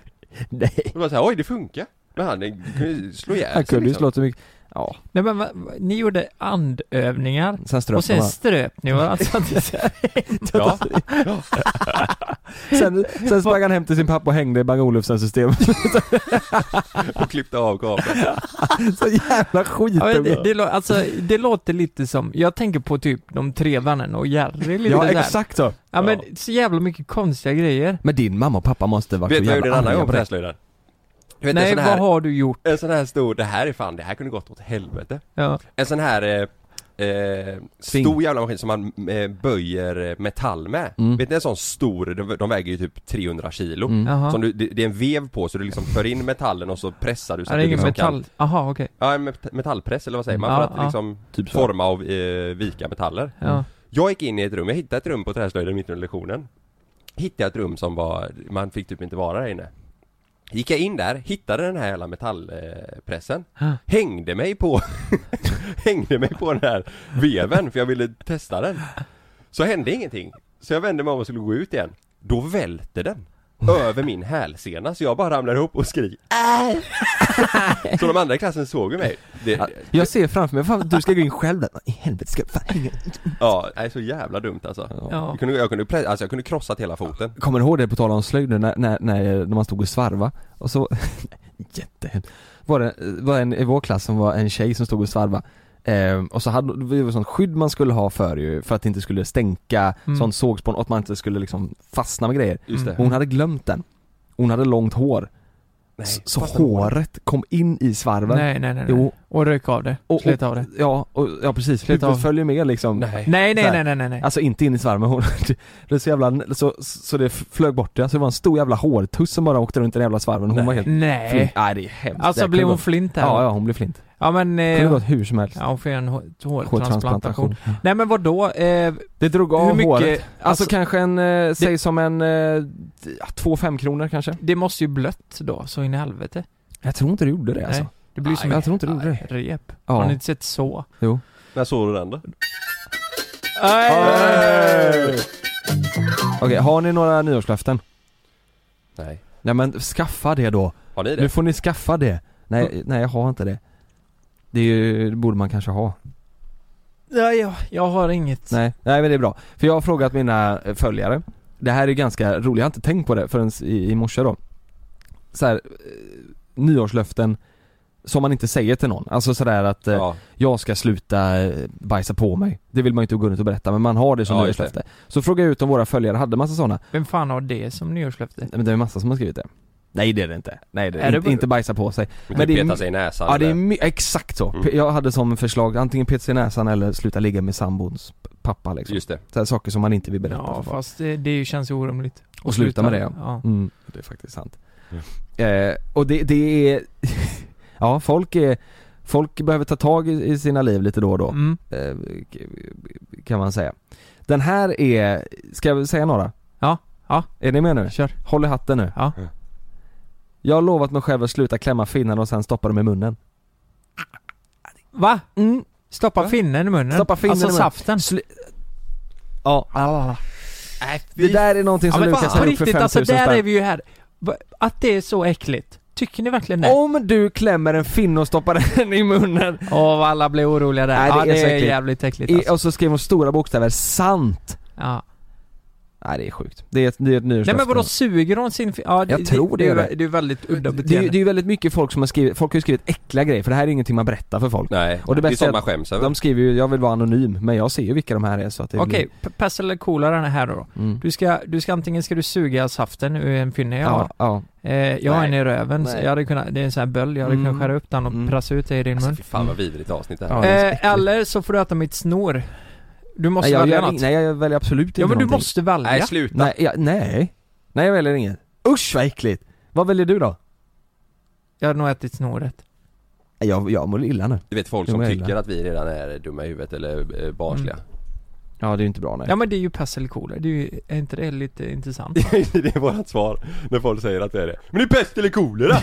Speaker 2: nej.
Speaker 3: Och bara såhär, oj det funkar. Men han eh, kunde ju slå ihjäl
Speaker 2: Han
Speaker 3: sig,
Speaker 2: kunde ju
Speaker 3: liksom.
Speaker 2: slå så mycket. Ja,
Speaker 1: Nej men va, va, ni gjorde andövningar
Speaker 2: sen ströp
Speaker 1: och sen
Speaker 2: man.
Speaker 1: ströp ni varandra. Alltså, så att det-
Speaker 3: Ja.
Speaker 2: Sen, sen sprang han hem till sin pappa och hängde i Bang Olufsens system.
Speaker 3: Och klippte av kameran.
Speaker 2: Så jävla skit.
Speaker 1: Ja, men det, det, lå- alltså, det låter lite som, jag tänker på typ de tre vännerna och Jerry lite
Speaker 2: Ja,
Speaker 1: där.
Speaker 2: exakt så.
Speaker 1: Ja men så jävla mycket konstiga grejer.
Speaker 2: Men din mamma och pappa måste varit
Speaker 3: Vet
Speaker 2: så
Speaker 3: du vad jag gjorde en
Speaker 2: jävla
Speaker 3: annan
Speaker 2: arga
Speaker 3: gång
Speaker 2: på
Speaker 3: på
Speaker 2: det.
Speaker 3: träslöjden? Du vet en
Speaker 1: Nej
Speaker 3: sån
Speaker 1: vad
Speaker 3: här,
Speaker 1: har du gjort?
Speaker 3: en sån här stor, det här är fan, det här kunde gått åt helvete.
Speaker 1: Ja.
Speaker 3: En sån här eh, eh, stor jävla maskin som man eh, böjer eh, metall med.
Speaker 2: Mm.
Speaker 3: Vet ni en sån stor, de, de väger ju typ 300 kilo.
Speaker 2: Mm.
Speaker 1: Jaha.
Speaker 3: Som du, det, det är en vev på så du liksom för in metallen och så pressar du så
Speaker 1: Ja, det
Speaker 3: att
Speaker 1: är
Speaker 3: du
Speaker 1: ingen
Speaker 3: liksom
Speaker 1: metall.
Speaker 3: kan,
Speaker 1: Jaha okej.
Speaker 3: Ja en met- metallpress eller vad säger man?
Speaker 1: Ja,
Speaker 3: för att
Speaker 1: ja.
Speaker 3: liksom
Speaker 2: Typ så.
Speaker 3: forma och eh, vika metaller.
Speaker 2: Mm.
Speaker 1: Ja.
Speaker 3: Jag gick in i ett rum, jag hittade ett rum på träslöjden mitt under lektionen. Hittade ett rum som var, man fick typ inte vara där inne. Gick jag in där, hittade den här jävla metallpressen.
Speaker 1: Ah.
Speaker 3: Hängde mig på, hängde mig på den här veven för jag ville testa den. Så hände ingenting. Så jag vände mig om och skulle gå ut igen. Då välter den. Över min hälsena så jag bara ramlar ihop och skriker "Aj!" Så de andra i klassen såg ju mig. Det,
Speaker 2: Jag ser framför mig, fan, du ska gå in själv där. I helvete ska jag fan hänga.
Speaker 3: ja, det är så jävla dumt alltså.
Speaker 1: Ja.
Speaker 3: Jag kunde, jag kunde, pre- alltså jag kunde krossat hela foten.
Speaker 2: Kommer du ihåg det på tal om slöjd nu när, när, när, när man stod och svarva och så Jättehemskt Var det var en i vår klass som var en tjej som stod och svarva ehm, och så hade det var ju sånt skydd man skulle ha för ju för att det inte skulle stänka
Speaker 1: Mm.
Speaker 2: sånt sågspån och att man inte skulle liksom fastna med grejer.
Speaker 3: Just det.
Speaker 2: Hon hade glömt den. Hon hade långt hår.
Speaker 3: Nej,
Speaker 2: S- så
Speaker 3: fastnade på den.
Speaker 2: håret kom in i svarven.
Speaker 1: Nej nej nej. nej.
Speaker 2: Jo.
Speaker 1: Och rök av det.
Speaker 2: Och,
Speaker 1: Slet
Speaker 2: och-
Speaker 1: av det.
Speaker 2: Ja, och, ja precis.
Speaker 1: Slet av.
Speaker 2: Huvudet följer med liksom.
Speaker 3: Nej.
Speaker 1: Nej nej
Speaker 2: såhär.
Speaker 1: nej nej nej. nej.
Speaker 2: Alltså inte in i svarven, hon, det är så jävla, så, så det flög bort det, alltså det var en stor jävla hårtuss som bara åkte runt i den jävla svarven, hon
Speaker 3: Nej.
Speaker 2: var helt
Speaker 1: nej.
Speaker 2: flint. Nej det är hemskt.
Speaker 1: Alltså
Speaker 2: Det
Speaker 1: blev
Speaker 2: kan
Speaker 1: hon
Speaker 2: gå-
Speaker 1: flint här?
Speaker 2: Ja, ja hon blev flint.
Speaker 1: Ja men...
Speaker 2: Det
Speaker 1: Eh,
Speaker 2: kunde gått hur som helst.
Speaker 1: ja, hon får göra en hå- hårtransplantation.
Speaker 2: Hårtransplantation. Ja.
Speaker 1: Nej men vadå? Eh,
Speaker 2: Det drog av
Speaker 1: hur mycket...
Speaker 2: håret.
Speaker 1: Alltså,
Speaker 2: Alltså kanske en, eh, säg som en, eh, två fem kronor kanske?
Speaker 1: det måste ju blött då, så in i helvete.
Speaker 2: Jag tror inte du gjorde det alltså.
Speaker 1: Nej. Det blir ju
Speaker 2: Nej,
Speaker 1: som
Speaker 2: jag
Speaker 1: ett
Speaker 2: tror inte du gjorde det.
Speaker 1: rep.
Speaker 2: Ja.
Speaker 1: Har ni inte sett så?
Speaker 2: Jo.
Speaker 3: När såg du den då?
Speaker 2: Okej, har ni några nyårslöften?
Speaker 3: Nej.
Speaker 2: Ja men skaffa det då.
Speaker 3: Har ni det?
Speaker 2: Nu får ni skaffa det. Nej, nej jag har inte det. Det, är ju, det borde man kanske ha.
Speaker 1: Nej, jag, jag har inget.
Speaker 2: Nej, nej men det är bra. För jag har frågat mina eh, följare. Det här är ganska roligt, jag har inte tänkt på det förrän i, i morse då. Så här, eh, nyårslöften som man inte säger till någon. Alltså sådär att eh,
Speaker 3: Ja.
Speaker 2: jag ska sluta eh, bajsa på mig. Det vill man ju inte gå runt och berätta men man har det som
Speaker 3: Ja, just det.
Speaker 2: nyårslöfte. Så frågade jag ut om våra följare hade massa sådana.
Speaker 1: Vem fan har det som nyårslöfte?
Speaker 2: Nej, Men det är massa som har skrivit det. Nej det är det inte. Nej det är,
Speaker 1: Är det
Speaker 2: inte,
Speaker 1: bara-
Speaker 2: inte bajsa på sig.
Speaker 3: Men
Speaker 2: Men
Speaker 3: typ
Speaker 2: det är
Speaker 3: peta
Speaker 2: my-
Speaker 3: sig i näsan
Speaker 2: Ja det är
Speaker 3: eller-
Speaker 2: my- exakt så.
Speaker 3: Mm.
Speaker 2: P- Jag hade som förslag antingen peta sig i näsan eller sluta ligga med sambons p- pappa liksom.
Speaker 3: Just det.
Speaker 2: Så här, saker som man inte vill berätta
Speaker 1: Ja
Speaker 2: för folk.
Speaker 1: fast det, det ju- känns ju orimligt.
Speaker 2: Och sluta med det, ja.
Speaker 1: ja.
Speaker 2: Mm, det är faktiskt sant. Eh, och det, det är, ja folk är, folk behöver ta tag i, i sina liv lite då och då,
Speaker 1: Mm.
Speaker 2: eh, k- kan man säga. Den här är, ska jag säga några?
Speaker 1: Ja, ja.
Speaker 2: Är ni med nu?
Speaker 1: Kör.
Speaker 2: Håll i hatten nu.
Speaker 1: Ja.
Speaker 2: Jag har lovat mig själv att sluta klämma finnarna och sen stoppa dem i munnen.
Speaker 1: Va? Stoppa finnen i munnen?
Speaker 2: Stoppa finnen
Speaker 1: alltså
Speaker 2: i munnen.
Speaker 1: saften?
Speaker 2: Sli- ja,
Speaker 1: Ah, Nej,
Speaker 2: det där är någonting
Speaker 1: ja,
Speaker 2: som
Speaker 1: men
Speaker 2: Lukas
Speaker 1: fan, på
Speaker 2: har gjort för
Speaker 1: riktigt
Speaker 2: 5000
Speaker 1: alltså, där är
Speaker 2: spänn.
Speaker 1: vi ju här. Va- Att det är så äckligt. Tycker ni verkligen det?
Speaker 2: Om du klämmer en finne och stoppar den i munnen
Speaker 1: Åh, vad alla blir oroliga där.
Speaker 2: Nej, det
Speaker 1: ja,
Speaker 2: är
Speaker 1: det
Speaker 2: så
Speaker 1: är
Speaker 2: äckligt.
Speaker 1: jävligt äckligt
Speaker 2: I,
Speaker 1: alltså.
Speaker 2: och så skrev hon stora bokstäver, sant!
Speaker 1: ja.
Speaker 2: Nej det är sjukt. Det är ett, det är ett
Speaker 1: Nej men
Speaker 2: nyårslöfte.
Speaker 1: vadå, suger hon sin... fi- Ja,
Speaker 2: Jag tror det
Speaker 1: det,
Speaker 2: gör
Speaker 1: är
Speaker 2: det.
Speaker 1: ju- det är ju väldigt udda
Speaker 2: det, är ju-
Speaker 1: beteende.
Speaker 2: det är ju väldigt mycket folk som har skrivit, folk har ju skrivit äckliga grejer för det här är ingenting man berättar för folk.
Speaker 3: Nej.
Speaker 2: Och det
Speaker 3: det, är
Speaker 2: bästa är
Speaker 3: sånt
Speaker 2: att
Speaker 3: man skäms över.
Speaker 2: De skriver ju, jag vill vara anonym, men jag ser ju vilka de här är så att det blir-
Speaker 1: Okej, p- pest eller kolera den här då.
Speaker 2: mm.
Speaker 1: Du ska, du ska antingen ska du suga saften ur en finne jag har.
Speaker 2: Ja, ja.
Speaker 1: Eh, jag har
Speaker 2: Nej.
Speaker 1: en i röven, så
Speaker 2: Nej.
Speaker 1: jag hade kunnat, det är en sån här böld, jag hade
Speaker 2: Mm.
Speaker 1: kunnat skära upp den och
Speaker 2: Mm.
Speaker 1: pressa ut det i din
Speaker 3: Alltså,
Speaker 1: mun.
Speaker 3: fy fan vad vidrigt avsnitt det här
Speaker 2: Ja, det är så äckligt.
Speaker 1: eh, eller så får du äta mitt snor. Du måste
Speaker 2: nej, jag,
Speaker 1: välja
Speaker 2: jag,
Speaker 1: något.
Speaker 2: nej jag väljer absolut inte
Speaker 1: ja men du
Speaker 2: någonting.
Speaker 1: måste välja.
Speaker 3: Nej sluta.
Speaker 2: Nej, jag, nej. Nej jag väljer inget. Usch vad äckligt! Vad väljer du då?
Speaker 1: Jag hade nog ätit snoret.
Speaker 2: Nej, Jag, jag mår illa nu.
Speaker 3: Du vet folk
Speaker 2: Jo,
Speaker 3: som
Speaker 2: men Mm. jag
Speaker 3: tycker
Speaker 2: gillar.
Speaker 3: att vi redan är dumma i huvudet eller eh, barnsliga.
Speaker 2: Ja det är ju inte bra nej.
Speaker 1: Ja men det är ju pest eller kolera, det är ju, är inte det lite intressant?
Speaker 3: det är vårat svar när folk säger att det är det. Men det är pest eller kolera!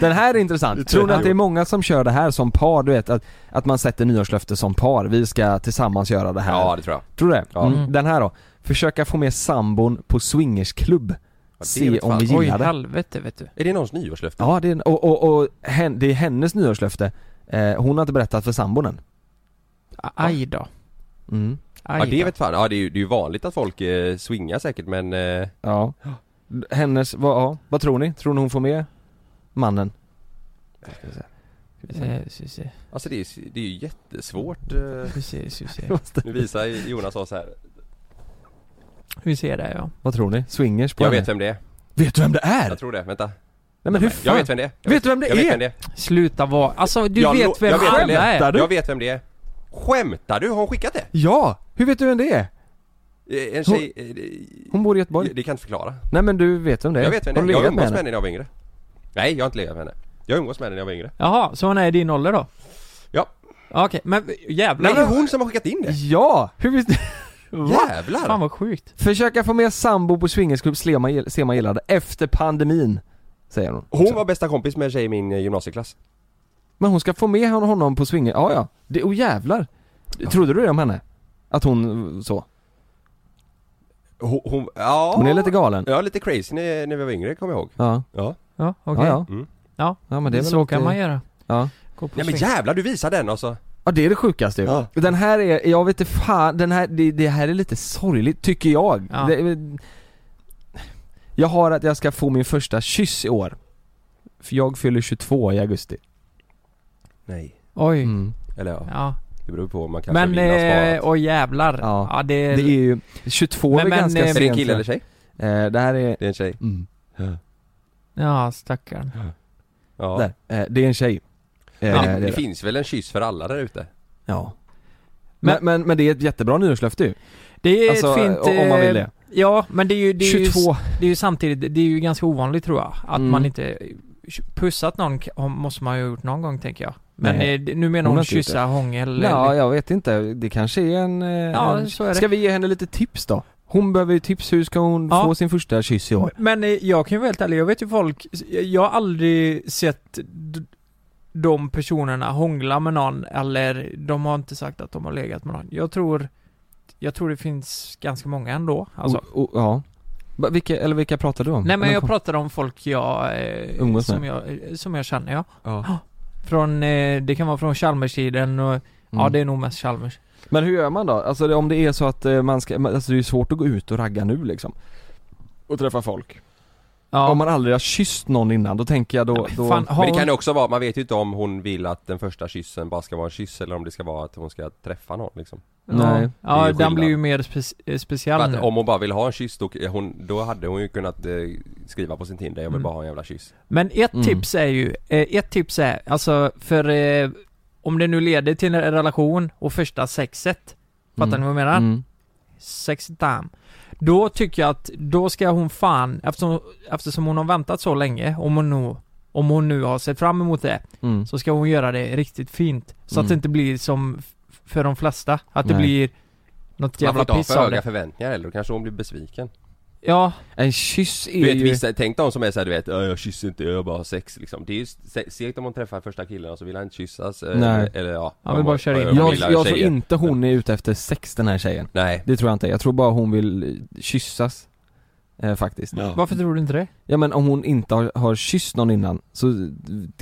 Speaker 2: Den här är intressant.
Speaker 3: Det
Speaker 2: Tror ni
Speaker 3: tror
Speaker 2: att det är
Speaker 3: jag.
Speaker 2: många som kör det här som par? Du vet att, att man sätter nyårslöfte som par. Vi ska tillsammans göra det här.
Speaker 3: ja det tror jag.
Speaker 2: Tror du det?
Speaker 3: Ja.
Speaker 2: Mm. Den här då. Försöka få med sambon på swingersklubb.
Speaker 3: det
Speaker 2: Se
Speaker 3: vet
Speaker 2: om
Speaker 3: fan.
Speaker 2: vi
Speaker 1: Oj
Speaker 2: gillar det.
Speaker 1: helvete vet du.
Speaker 3: Är det någons nyårslöfte?
Speaker 2: Ja, det är, en- och, och, och hen, det är hennes nyårslöfte. Eh, hon har inte berättat för sambon än.
Speaker 1: Aj då.
Speaker 2: Mm.
Speaker 1: Aj
Speaker 3: Ja det
Speaker 1: då.
Speaker 3: vet fan, ja det är ju, det är ju vanligt att folk eh, swingar säkert men eh,
Speaker 2: Ja. Hennes, vad, ja. vad tror ni? Tror ni hon får med mannen? Ska vi se. Ska vi se.
Speaker 1: Eh, ska vi se,
Speaker 3: alltså det är, ju- det är ju jättesvårt eh.
Speaker 1: ska vi se, ska vi se.
Speaker 3: Nu visar Jonas oss här.
Speaker 1: Hur ser det ja.
Speaker 2: Vad tror ni? Swingers på
Speaker 3: Jag
Speaker 2: henne?
Speaker 3: vet vem det är.
Speaker 2: vet du vem det är?
Speaker 3: Jag tror det, vänta.
Speaker 2: Nej men hur
Speaker 3: Jag
Speaker 2: fan?
Speaker 3: vet vem det är. Jag
Speaker 2: Vet du vem det
Speaker 3: jag vet
Speaker 2: är?
Speaker 3: vem det är.
Speaker 1: Sluta vara, alltså du
Speaker 3: Jag lo-
Speaker 1: vet vem
Speaker 3: jag vet vem det
Speaker 1: alla
Speaker 3: är.
Speaker 1: är.
Speaker 2: Skämtar du?
Speaker 3: Jag vet vem det är. Skämtar du? Har hon skickat det?
Speaker 2: Ja! Hur vet du vem det är?
Speaker 3: Eh, En tjej... eh,
Speaker 2: Hon bor i Göteborg.
Speaker 3: det- Det kan jag inte förklara.
Speaker 2: Nej men du vet vem det är?
Speaker 3: Jag vet vem det
Speaker 2: Har
Speaker 3: är.
Speaker 2: du
Speaker 3: Jag
Speaker 2: legat med
Speaker 3: umgås med
Speaker 2: henne?
Speaker 3: henne när jag var yngre. Nej, jag har inte legat med henne. Jag umgås med henne när jag var yngre.
Speaker 1: Jaha, så hon är i din ålder då?
Speaker 3: Ja.
Speaker 1: Okej, men jävlar.
Speaker 3: Nej, det är hon som har skickat in det!
Speaker 2: Ja! Hur visste
Speaker 3: Jävlar!
Speaker 1: Fan vad sjukt.
Speaker 2: Försöka få med sambo på swingersklubb se om man gill- se om man gillar det efter pandemin Säger hon
Speaker 3: Hon var bästa kompis med en tjej i min eh, gymnasieklass.
Speaker 2: Men hon ska få med hon- honom på swinger, ja ja, det, oh jävlar Trodde du det om henne? Att hon så?
Speaker 3: Hon, hon ja...
Speaker 2: Hon är lite galen
Speaker 3: Ja, lite crazy när, när vi var yngre, kommer jag ihåg.
Speaker 2: Ja,
Speaker 3: Ja.
Speaker 1: Ja, okej.
Speaker 2: ja, ja.
Speaker 3: Mm.
Speaker 1: Ja,
Speaker 2: ja men det är väl
Speaker 1: så kan
Speaker 2: alltid-
Speaker 1: man göra.
Speaker 2: Ja.
Speaker 1: Gå på
Speaker 3: Nej men
Speaker 1: swing.
Speaker 3: jävlar, du visar den alltså!
Speaker 2: ja, det är det sjukaste ju.
Speaker 3: Ja.
Speaker 2: Den här är, jag vet inte fan, den här, det, det här är lite sorgligt tycker jag
Speaker 1: Ja.
Speaker 2: det, Jag har att jag ska få min första kyss i år För jag fyller 22 i augusti
Speaker 3: Nej.
Speaker 1: Oj.
Speaker 2: mm.
Speaker 3: Eller ja,
Speaker 1: Ja.
Speaker 3: det beror på, man kanske
Speaker 1: Men,
Speaker 3: vill ha sparat.
Speaker 1: eh, oj jävlar.
Speaker 2: Ja.
Speaker 1: Ja, det är...
Speaker 2: Det är ju, 22 är
Speaker 1: Men-
Speaker 2: väl
Speaker 1: men,
Speaker 2: ganska
Speaker 1: eh,
Speaker 2: sent
Speaker 3: Är det en kille eller tjej?
Speaker 2: tjej? Eh, det här är,
Speaker 3: Det är en tjej.
Speaker 2: mm,
Speaker 1: Ja, stackarn.
Speaker 3: Ja.
Speaker 2: där, eh, det är en tjej eh,
Speaker 3: Men
Speaker 2: det
Speaker 3: det,
Speaker 2: är
Speaker 3: det,
Speaker 2: det.
Speaker 3: finns väl en kyss för alla där ute?
Speaker 2: Ja men, men, men, det är ett jättebra nyårslöfte ju,
Speaker 1: Det är
Speaker 2: alltså
Speaker 1: ett fint...
Speaker 2: eh, om man vill
Speaker 1: eh,
Speaker 2: det
Speaker 1: Ja, men det är ju... Det är
Speaker 2: 22,
Speaker 1: Ju, det är ju samtidigt, det är ju ganska ovanligt tror jag. Att
Speaker 2: Mm.
Speaker 1: man inte pussat någon k- om- måste man ju ha gjort någon gång tänker jag. Men
Speaker 2: Nej.
Speaker 1: eh, det- nu menar
Speaker 2: Hon
Speaker 1: hon,
Speaker 2: har inte gjort
Speaker 1: kyssa, hångel.
Speaker 2: Ja,
Speaker 1: eller-
Speaker 2: jag vet inte. Det kanske är en... eh,
Speaker 1: Ja,
Speaker 2: en...
Speaker 1: så är det.
Speaker 2: Ska vi ge henne lite tips då? Hon behöver ju tips, hur ska hon
Speaker 1: Ja.
Speaker 2: få sin första kyss i år?
Speaker 1: Men eh, jag kan ju vara helt ärlig, jag vet ju folk, jag har aldrig sett d- de personerna hångla med någon eller de har inte sagt att de har legat med någon. Jag tror, jag tror det finns ganska många ändå. Alltså.
Speaker 2: O, o, ja. Va, vilka, eller vilka pratar du om?
Speaker 1: Nej men
Speaker 2: Eller
Speaker 1: jag
Speaker 2: kom-
Speaker 1: pratar om folk jag, eh,
Speaker 2: Umgås
Speaker 1: som
Speaker 2: med.
Speaker 1: jag, eh, som jag känner ja.
Speaker 2: ja.
Speaker 1: Från, eh, det kan vara från Chalmers-tiden och, ja
Speaker 2: Mm.
Speaker 1: det är nog mest Chalmers.
Speaker 2: Men hur gör man då? Alltså det- om det är så att eh, man ska, men, alltså det är ju svårt att gå ut och ragga nu liksom Och träffa folk
Speaker 1: Ja.
Speaker 2: Om man aldrig har kysst någon innan, då tänker jag då, då
Speaker 1: Fan, har
Speaker 3: Men det kan
Speaker 1: hon-
Speaker 3: ju också vara, man vet ju inte om hon vill att den första kyssen bara ska vara en kyss eller om det ska vara att hon ska träffa någon liksom.
Speaker 2: Nej.
Speaker 3: Det är
Speaker 1: Ja,
Speaker 3: ju
Speaker 1: den
Speaker 3: skillnad.
Speaker 1: blir ju mer spe- eh,
Speaker 3: För
Speaker 1: speciell
Speaker 3: att
Speaker 1: nu.
Speaker 3: om hon bara vill ha en kyss då, hon, då hade hon ju kunnat eh, skriva på sin Tinder, jag vill
Speaker 1: Mm.
Speaker 3: bara ha en jävla kyss.
Speaker 1: Men ett
Speaker 2: Mm.
Speaker 1: tips är ju, eh, ett tips är, alltså för eh, om det nu leder till en relation och första sexet, fattar ni vad jag menar?
Speaker 2: Mm.
Speaker 1: Sex time. Då tycker jag att, då ska hon fan, eftersom, eftersom hon har väntat så länge, om hon nu, om hon nu har sett fram emot det,
Speaker 2: Mm.
Speaker 1: så ska hon göra det riktigt fint. Så
Speaker 2: Mm.
Speaker 1: att det inte blir som f- för de flesta, att det
Speaker 2: Nej.
Speaker 1: blir något
Speaker 3: Man får
Speaker 1: jävla
Speaker 3: inte ha
Speaker 1: piss
Speaker 3: för
Speaker 1: av
Speaker 3: höga
Speaker 1: det.
Speaker 3: förväntningar eller då kanske hon blir besviken.
Speaker 1: Ja,
Speaker 2: En kyss är
Speaker 3: Du vet
Speaker 2: ju...
Speaker 3: vissa, tänk de som är såhär du vet, "Äh, jag kysser inte, jag bara har sex liksom. Det är ju se- segt om hon träffar första killen och så vill han inte kyssas. eh,
Speaker 2: Nej.
Speaker 3: Eller ja.
Speaker 1: Han vill bara köra in.
Speaker 3: Jag
Speaker 2: Jag,
Speaker 3: gillar
Speaker 2: jag tror
Speaker 3: tjejer.
Speaker 2: inte hon är ute efter sex den här tjejen
Speaker 3: Nej.
Speaker 2: Det tror jag inte, jag tror bara hon vill eh, kyssas eh, Faktiskt
Speaker 1: varför tror du inte det?
Speaker 2: Ja men om hon inte har, har kysst någon innan så eh,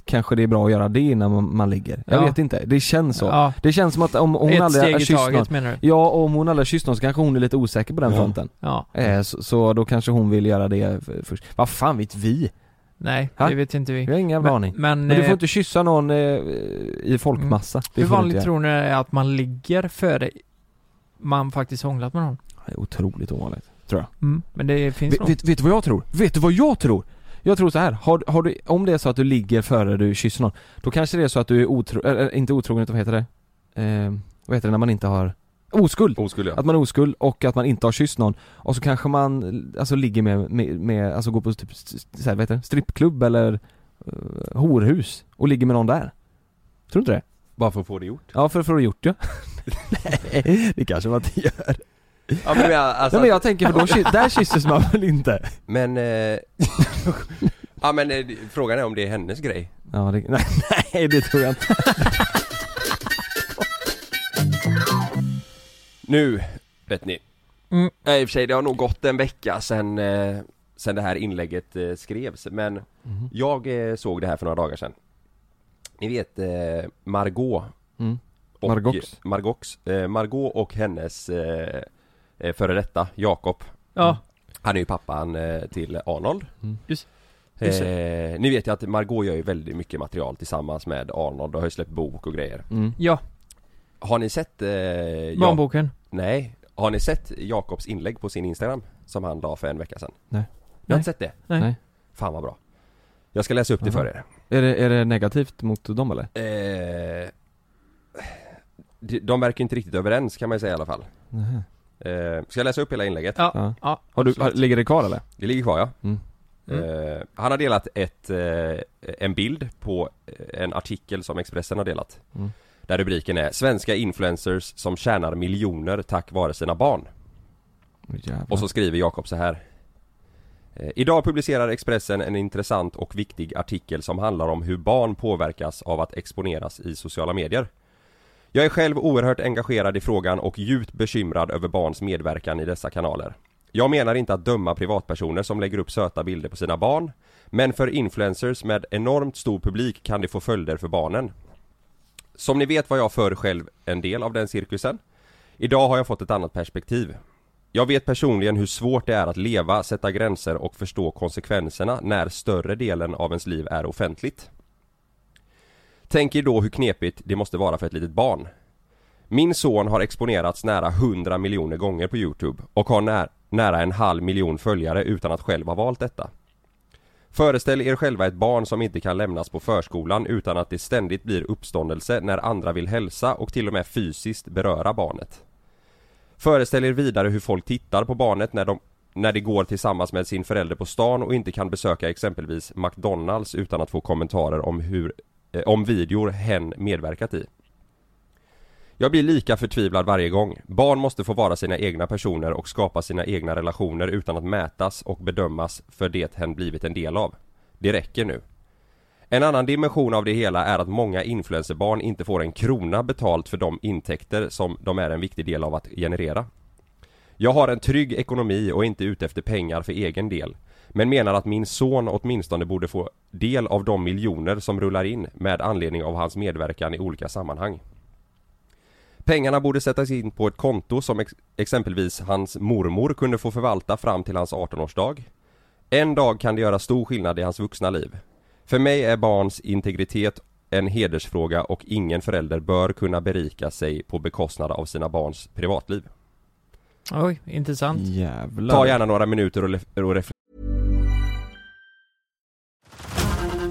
Speaker 2: kanske det är bra att göra det innan man, man ligger Jag
Speaker 1: Ja.
Speaker 2: vet inte, det känns så
Speaker 1: Ja,
Speaker 2: Det känns som att om, om hon
Speaker 1: ett
Speaker 2: aldrig har
Speaker 1: steg i
Speaker 2: kysst någon
Speaker 1: taget menar du?
Speaker 2: Ja, och om hon aldrig har kysst någon så kanske hon är lite osäker på den
Speaker 3: Ja.
Speaker 2: fronten
Speaker 1: Ja, Mm.
Speaker 2: eh, så, så då kanske hon vill göra det för- först Vad fan vet vi?
Speaker 1: nej,
Speaker 2: Ha?
Speaker 1: det vet inte vi.
Speaker 2: Vi har ingen jävla aning
Speaker 1: Men,
Speaker 2: Men du får
Speaker 1: eh,
Speaker 2: inte kyssa någon eh, i folkmassa Det
Speaker 1: hur
Speaker 2: får du inte
Speaker 1: vanligt
Speaker 2: göra.
Speaker 1: tror ni det är att man ligger före man faktiskt hånglat med någon?
Speaker 2: Det är otroligt ovanligt Tror jag
Speaker 1: Mm. Men det finns
Speaker 2: vet,
Speaker 1: nog.
Speaker 2: vet, vet du vad jag tror? Vet du vad jag tror? Jag tror så här, har, har du, om det är så att du ligger före du kysser någon Då kanske det är så att du är otro, eller inte otrogen utan vad heter det? Eh, vad heter det när man inte har Oskuld!
Speaker 3: Oskuld ja.
Speaker 2: Att man är oskuld och att man inte har kysst någon och så kanske man alltså ligger med, med, med alltså går på typ, s- så här, vad heter det, strippklubb eller uh, horhus och ligger med någon där. Tror du inte det?
Speaker 3: Bara för att få det gjort.
Speaker 2: Ja, för, för att ha gjort det. Nej, det kanske man inte gör.
Speaker 3: Ja men jag, alltså,
Speaker 2: Nej men jag tänker för då, ky- där kysses man väl inte?
Speaker 3: men, eh, Ja men eh, frågan är om det är hennes grej.
Speaker 2: Ja, det, nej, nej det tror jag inte.
Speaker 3: Nu, vet ni.
Speaker 1: Mm.
Speaker 3: Nej i och för sig, det har nog gått en vecka sen, eh, sen det här inlägget eh, skrevs men
Speaker 2: Mm-hmm.
Speaker 3: jag eh, såg det här för några dagar sedan. Ni vet eh, Margot
Speaker 2: Mm.
Speaker 3: och,
Speaker 2: Margox.
Speaker 3: Margox, eh, Margot och hennes eh, eh, före detta Jakob
Speaker 1: Ja,
Speaker 3: Han är ju pappan eh, till Arnold
Speaker 2: Mm.
Speaker 1: Just- just
Speaker 3: eh, Ni vet ju att Margot gör ju väldigt mycket material tillsammans med Arnold och har ju släppt bok och grejer
Speaker 2: Mm.
Speaker 1: ja,
Speaker 3: Har ni sett eh, Ja-
Speaker 1: barnboken.
Speaker 3: Nej Har ni sett Jakobs inlägg på sin Instagram? Som han la för en vecka sedan?
Speaker 2: Nej.
Speaker 3: Ni
Speaker 1: Nej.
Speaker 3: har inte sett det?
Speaker 1: Nej.
Speaker 2: Nej.
Speaker 3: Fan vad bra Jag ska läsa upp det
Speaker 2: Aha.
Speaker 3: för er
Speaker 2: Är det, är det negativt mot dem eller?
Speaker 3: eh, de- De verkar inte riktigt överens kan man ju säga i alla fall
Speaker 2: Nähä.
Speaker 3: eh, Ska jag läsa upp hela inlägget?
Speaker 1: Ja.
Speaker 2: Ja.
Speaker 1: Ja,
Speaker 2: Har du, har, ligger det kvar eller?
Speaker 3: Det ligger kvar ja.
Speaker 2: Mm.
Speaker 3: Eh, han har delat ett, eh, en bild på eh, en artikel som Expressen har delat.
Speaker 2: Mm.
Speaker 3: Där rubriken är 'Svenska influencers som tjänar miljoner tack vare sina barn'
Speaker 2: Jävlar.
Speaker 3: Och så skriver Jakob så här. Eh, Idag publicerar Expressen en intressant och viktig artikel som handlar om hur barn påverkas av att exponeras i sociala medier. Jag är själv oerhört engagerad i frågan och djupt bekymrad över barns medverkan i dessa kanaler. Jag menar inte att döma privatpersoner som lägger upp söta bilder på sina barn, men för influencers med enormt stor publik kan det få följder för barnen. Som ni vet var jag förr själv en del av den cirkusen. Idag har jag fått ett annat perspektiv. Jag vet personligen hur svårt det är att leva, sätta gränser och förstå konsekvenserna när större delen av ens liv är offentligt. Tänk er då hur knepigt det måste vara för ett litet barn. Min son har exponerats nära 100 miljoner gånger på Youtube och har nä- nära en halv miljon följare utan att själv ha valt detta. Föreställ er själva ett barn som inte kan lämnas på förskolan utan att det ständigt blir uppståndelse när andra vill hälsa och till och med fysiskt beröra barnet. Föreställ er vidare hur folk tittar på barnet när, de, när det går tillsammans med sin förälder på stan och inte kan besöka exempelvis McDonalds utan att få kommentarer om hur, eh, om videor hen medverkat i. Jag blir lika förtvivlad varje gång. Barn måste få vara sina egna personer och skapa sina egna relationer utan att mätas och bedömas för det hen blivit en del av. Det räcker nu. En annan dimension av det hela är att många influencerbarn inte får en krona betalt för de intäkter som de är en viktig del av att generera. Jag har en trygg ekonomi och är inte ute efter pengar för egen del. Men menar att min son åtminstone borde få del av de miljoner som rullar in med anledning av hans medverkan i olika sammanhang. Pengarna borde sättas in på ett konto som ex- exempelvis hans mormor kunde få förvalta fram till hans 18-årsdag. En dag kan det göra stor skillnad i hans vuxna liv. För mig är barns integritet en hedersfråga och ingen förälder bör kunna berika sig på bekostnad av sina barns privatliv.
Speaker 1: Oj, intressant.
Speaker 2: Jävlar.
Speaker 3: Ta gärna några minuter och, lef- och reflektera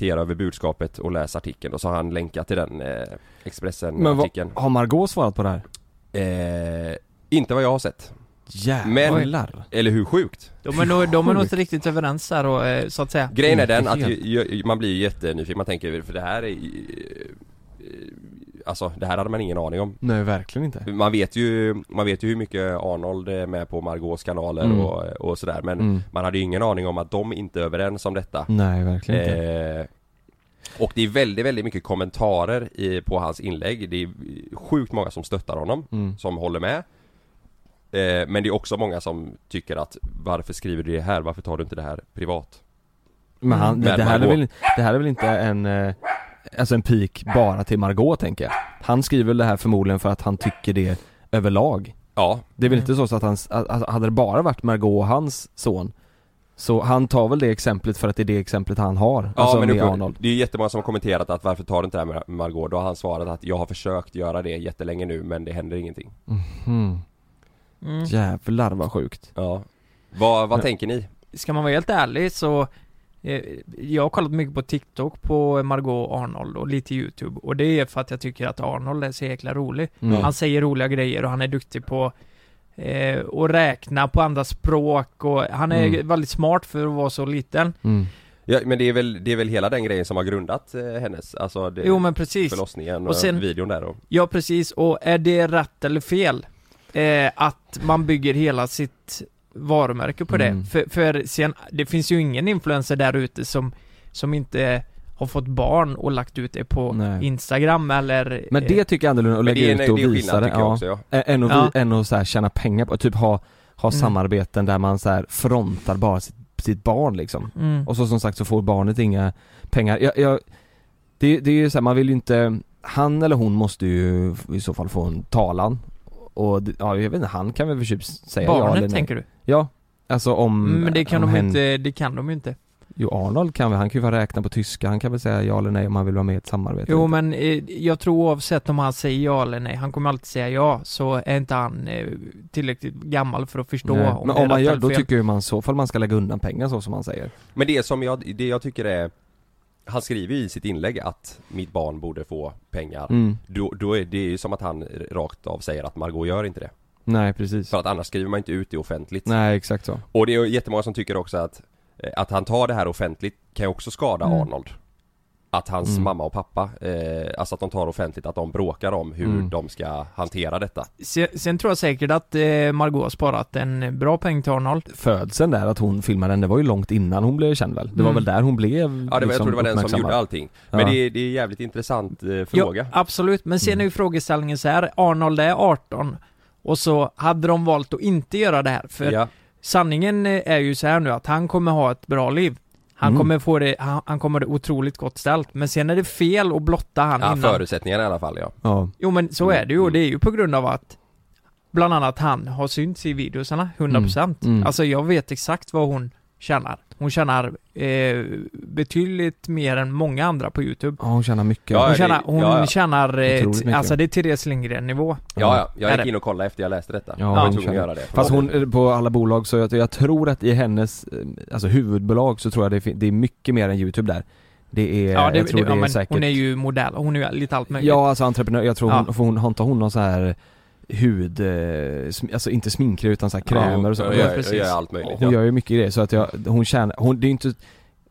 Speaker 3: över budskapet och läs artikeln och så har han länkat till den eh,
Speaker 2: Men vad,
Speaker 3: Expressen-artikeln.
Speaker 2: har Margot svarat på det här?
Speaker 3: Eh, inte vad jag har sett.
Speaker 2: Äh, Jävlar.
Speaker 3: Eller hur sjukt?
Speaker 1: De är nog, de är nog inte riktigt överens där och, eh, så att säga.
Speaker 3: Grejen är
Speaker 2: Inte
Speaker 3: den att
Speaker 2: helt.
Speaker 3: ju, ju, man blir ju jättenyfiken, man tänker för det här är ju- eh, Alltså det här hade man ingen aning om.
Speaker 2: Nej verkligen inte.
Speaker 3: Man vet ju, man vet ju hur mycket Arnold är med på Margots kanaler
Speaker 2: Mm.
Speaker 3: och, och sådär men
Speaker 2: Mm.
Speaker 3: man hade ju ingen aning om att de inte är överens om detta.
Speaker 2: Nej verkligen inte.
Speaker 3: Eh, och det är väldigt, väldigt mycket kommentarer i, på hans inlägg. Det är sjukt många som stöttar honom,
Speaker 2: Mm.
Speaker 3: som håller med. Eh, men det är också många som tycker att varför skriver du det här? Varför tar du inte det här privat?
Speaker 2: Men han,
Speaker 3: Men
Speaker 2: det, här är
Speaker 3: Margot-
Speaker 2: väl, det här är väl inte en, eh, alltså en pik bara till Margot tänker jag. Han skriver väl det här förmodligen för att han tycker det överlag.
Speaker 3: Ja,
Speaker 2: Det är väl
Speaker 1: Mm.
Speaker 2: inte så att han, att, att, hade det bara varit Margot och hans son så han tar väl det exemplet för att det är det exemplet han har,
Speaker 3: ja
Speaker 2: alltså
Speaker 3: men
Speaker 2: med
Speaker 3: det,
Speaker 2: Arnold.
Speaker 3: det är jättemånga som har kommenterat att varför tar du inte det här med Margot? Då har han svarat att jag har försökt göra det jättelänge nu men det händer ingenting.
Speaker 2: Mm.
Speaker 1: Mm.
Speaker 2: Jävlar vad sjukt.
Speaker 3: Ja. Vad, vad
Speaker 2: Men-
Speaker 3: tänker ni?
Speaker 1: Ska man vara helt ärlig så eh, jag har kollat mycket på TikTok på Margot och Arnold och lite YouTube och det är för att jag tycker att Arnold är så jäkla rolig.
Speaker 2: Mm.
Speaker 1: Han säger roliga grejer och han är duktig på eh, att räkna på andra språk och han är
Speaker 2: Mm.
Speaker 1: väldigt smart för att vara så liten.
Speaker 2: Mm.
Speaker 3: Ja, men det är, väl, det är väl hela den grejen som har grundat eh, hennes, alltså det,
Speaker 1: Jo men precis.
Speaker 3: förlossningen och,
Speaker 1: Och sen-
Speaker 3: videon där och...
Speaker 1: Ja precis, och är det rätt eller fel? Eh, att man bygger hela sitt varumärke på
Speaker 2: Mm.
Speaker 1: det. För, för sen, det finns ju ingen influencer där ute som, som inte har fått barn och lagt ut det på
Speaker 2: Nej.
Speaker 1: Instagram eller...
Speaker 2: Men
Speaker 1: eh,
Speaker 2: det tycker jag annorlunda att
Speaker 3: Men
Speaker 2: lägga
Speaker 3: det är,
Speaker 2: ut och
Speaker 3: det är
Speaker 2: visa
Speaker 3: skillnad
Speaker 2: det.
Speaker 3: tycker jag
Speaker 2: Ja.
Speaker 3: också ja.
Speaker 2: Ä- Än att,
Speaker 1: Ja.
Speaker 2: vi, än att så här tjäna pengar på, typ ha, ha
Speaker 1: Mm.
Speaker 2: samarbeten där man så här frontar bara sitt, sitt barn liksom.
Speaker 1: mm,
Speaker 2: Och så som sagt så får barnet inga pengar. Jag, jag, det, det är ju så här, man vill ju inte, han eller hon måste ju i så fall få en talan. Och det, ja, jag vet inte, han kan väl för typ säga ja
Speaker 1: barnet
Speaker 2: eller nej.
Speaker 1: tänker du? Mm,
Speaker 2: Ja, alltså om...
Speaker 1: Men det kan
Speaker 2: om
Speaker 1: de ju
Speaker 2: hen-
Speaker 1: inte, det kan de ju inte.
Speaker 2: Jo Arnold kan väl, han kan ju bara räkna på tyska, han kan väl säga ja eller nej om han vill vara med i ett samarbete.
Speaker 1: Jo men eh, jag tror oavsett om han säger ja eller nej, han kommer alltid säga ja, så är inte han eh, tillräckligt gammal för att förstå
Speaker 2: Nej.
Speaker 1: om
Speaker 2: Men
Speaker 1: det är
Speaker 2: om man
Speaker 1: rätt
Speaker 2: gör,
Speaker 1: eller
Speaker 2: då
Speaker 1: fel.
Speaker 2: tycker ju man så fall man ska lägga undan pengar så som man säger.
Speaker 3: Men det som jag, det jag tycker är Han skriver ju i sitt inlägg att mitt barn borde få pengar
Speaker 2: Mm.
Speaker 3: då, då är det ju som att han rakt av säger att Margot gör inte det
Speaker 2: Nej precis.
Speaker 3: För att annars skriver man inte ut det offentligt
Speaker 2: Nej exakt så.
Speaker 3: Och det är ju jättemånga som tycker också att eh, Att han tar det här offentligt kan ju också skada
Speaker 1: Mm.
Speaker 3: Arnold Att hans
Speaker 2: Mm.
Speaker 3: mamma och pappa, eh, alltså att de tar offentligt att de bråkar om hur
Speaker 2: Mm.
Speaker 3: de ska hantera detta
Speaker 1: Sen, sen tror jag säkert att eh, Margot har sparat en bra peng till Arnold.
Speaker 2: Födseln där, att hon filmade den, det var ju långt innan hon blev känd väl? Det var
Speaker 1: Mm.
Speaker 2: väl där hon blev
Speaker 3: Ja det var, jag
Speaker 2: liksom,
Speaker 3: tror det var den som
Speaker 2: uppmärksammad.
Speaker 3: gjorde allting Men
Speaker 2: Ja.
Speaker 3: det, är- det är en jävligt intressant eh, fråga
Speaker 1: Ja, absolut, men
Speaker 3: Mm.
Speaker 1: sen är ju frågeställningen så här. Arnold är 18 och så hade de valt att inte göra det här. För
Speaker 3: Ja.
Speaker 1: sanningen eh, är ju så här nu att han kommer ha ett bra liv. Han
Speaker 2: Mm.
Speaker 1: kommer få det, han, han kommer ha det otroligt gott ställt. Men sen är det fel att blotta han
Speaker 3: Ja,
Speaker 1: innan.
Speaker 3: förutsättningarna i alla fall ja
Speaker 2: Ja.
Speaker 1: Jo men så är det ju och det är ju på grund av att bland annat han har synts i videosarna, 100%.
Speaker 2: Mm, mm.
Speaker 1: Alltså jag vet exakt vad hon tjänar. Hon tjänar eh, betydligt mer än många andra på YouTube.
Speaker 2: Ja, hon tjänar mycket.
Speaker 3: Ja,
Speaker 1: Hon
Speaker 3: det-
Speaker 1: tjänar, hon
Speaker 3: ja, ja.
Speaker 1: tjänar eh,
Speaker 2: Otroligt
Speaker 1: t-
Speaker 2: mycket. Eh,
Speaker 1: alltså det är Therese Lindgren-nivå.
Speaker 3: Ja, ja. Jag
Speaker 1: Är
Speaker 3: gick
Speaker 1: det?
Speaker 3: in och kollade efter jag läste detta.
Speaker 2: Ja,
Speaker 3: jag
Speaker 2: hon
Speaker 3: var tvungen att
Speaker 2: känner-
Speaker 3: göra det.
Speaker 2: Fast hon, eh, på alla bolag så, jag, jag tror att i hennes, eh, alltså huvudbolag så tror jag det, fin- det är mycket mer än YouTube där Det är,
Speaker 1: Ja, det,
Speaker 2: jag tror
Speaker 1: det,
Speaker 2: det,
Speaker 1: ja,
Speaker 2: är
Speaker 1: men
Speaker 2: säkert
Speaker 1: hon är ju modell, hon är ju lite allt möjligt.
Speaker 2: Ja, alltså entreprenör, jag tror
Speaker 1: Ja.
Speaker 2: hon, för hon, har inte hon någon så här hud, eh, sm- alltså inte sminkgrej utan så här krämer och så
Speaker 3: Ja,
Speaker 1: Ja,
Speaker 3: hon
Speaker 2: Hon,
Speaker 3: gör,
Speaker 1: precis.
Speaker 3: gör allt möjligt.
Speaker 2: hon
Speaker 3: ja.
Speaker 2: gör ju mycket grejer så att jag, hon tjänar, hon, det är ju inte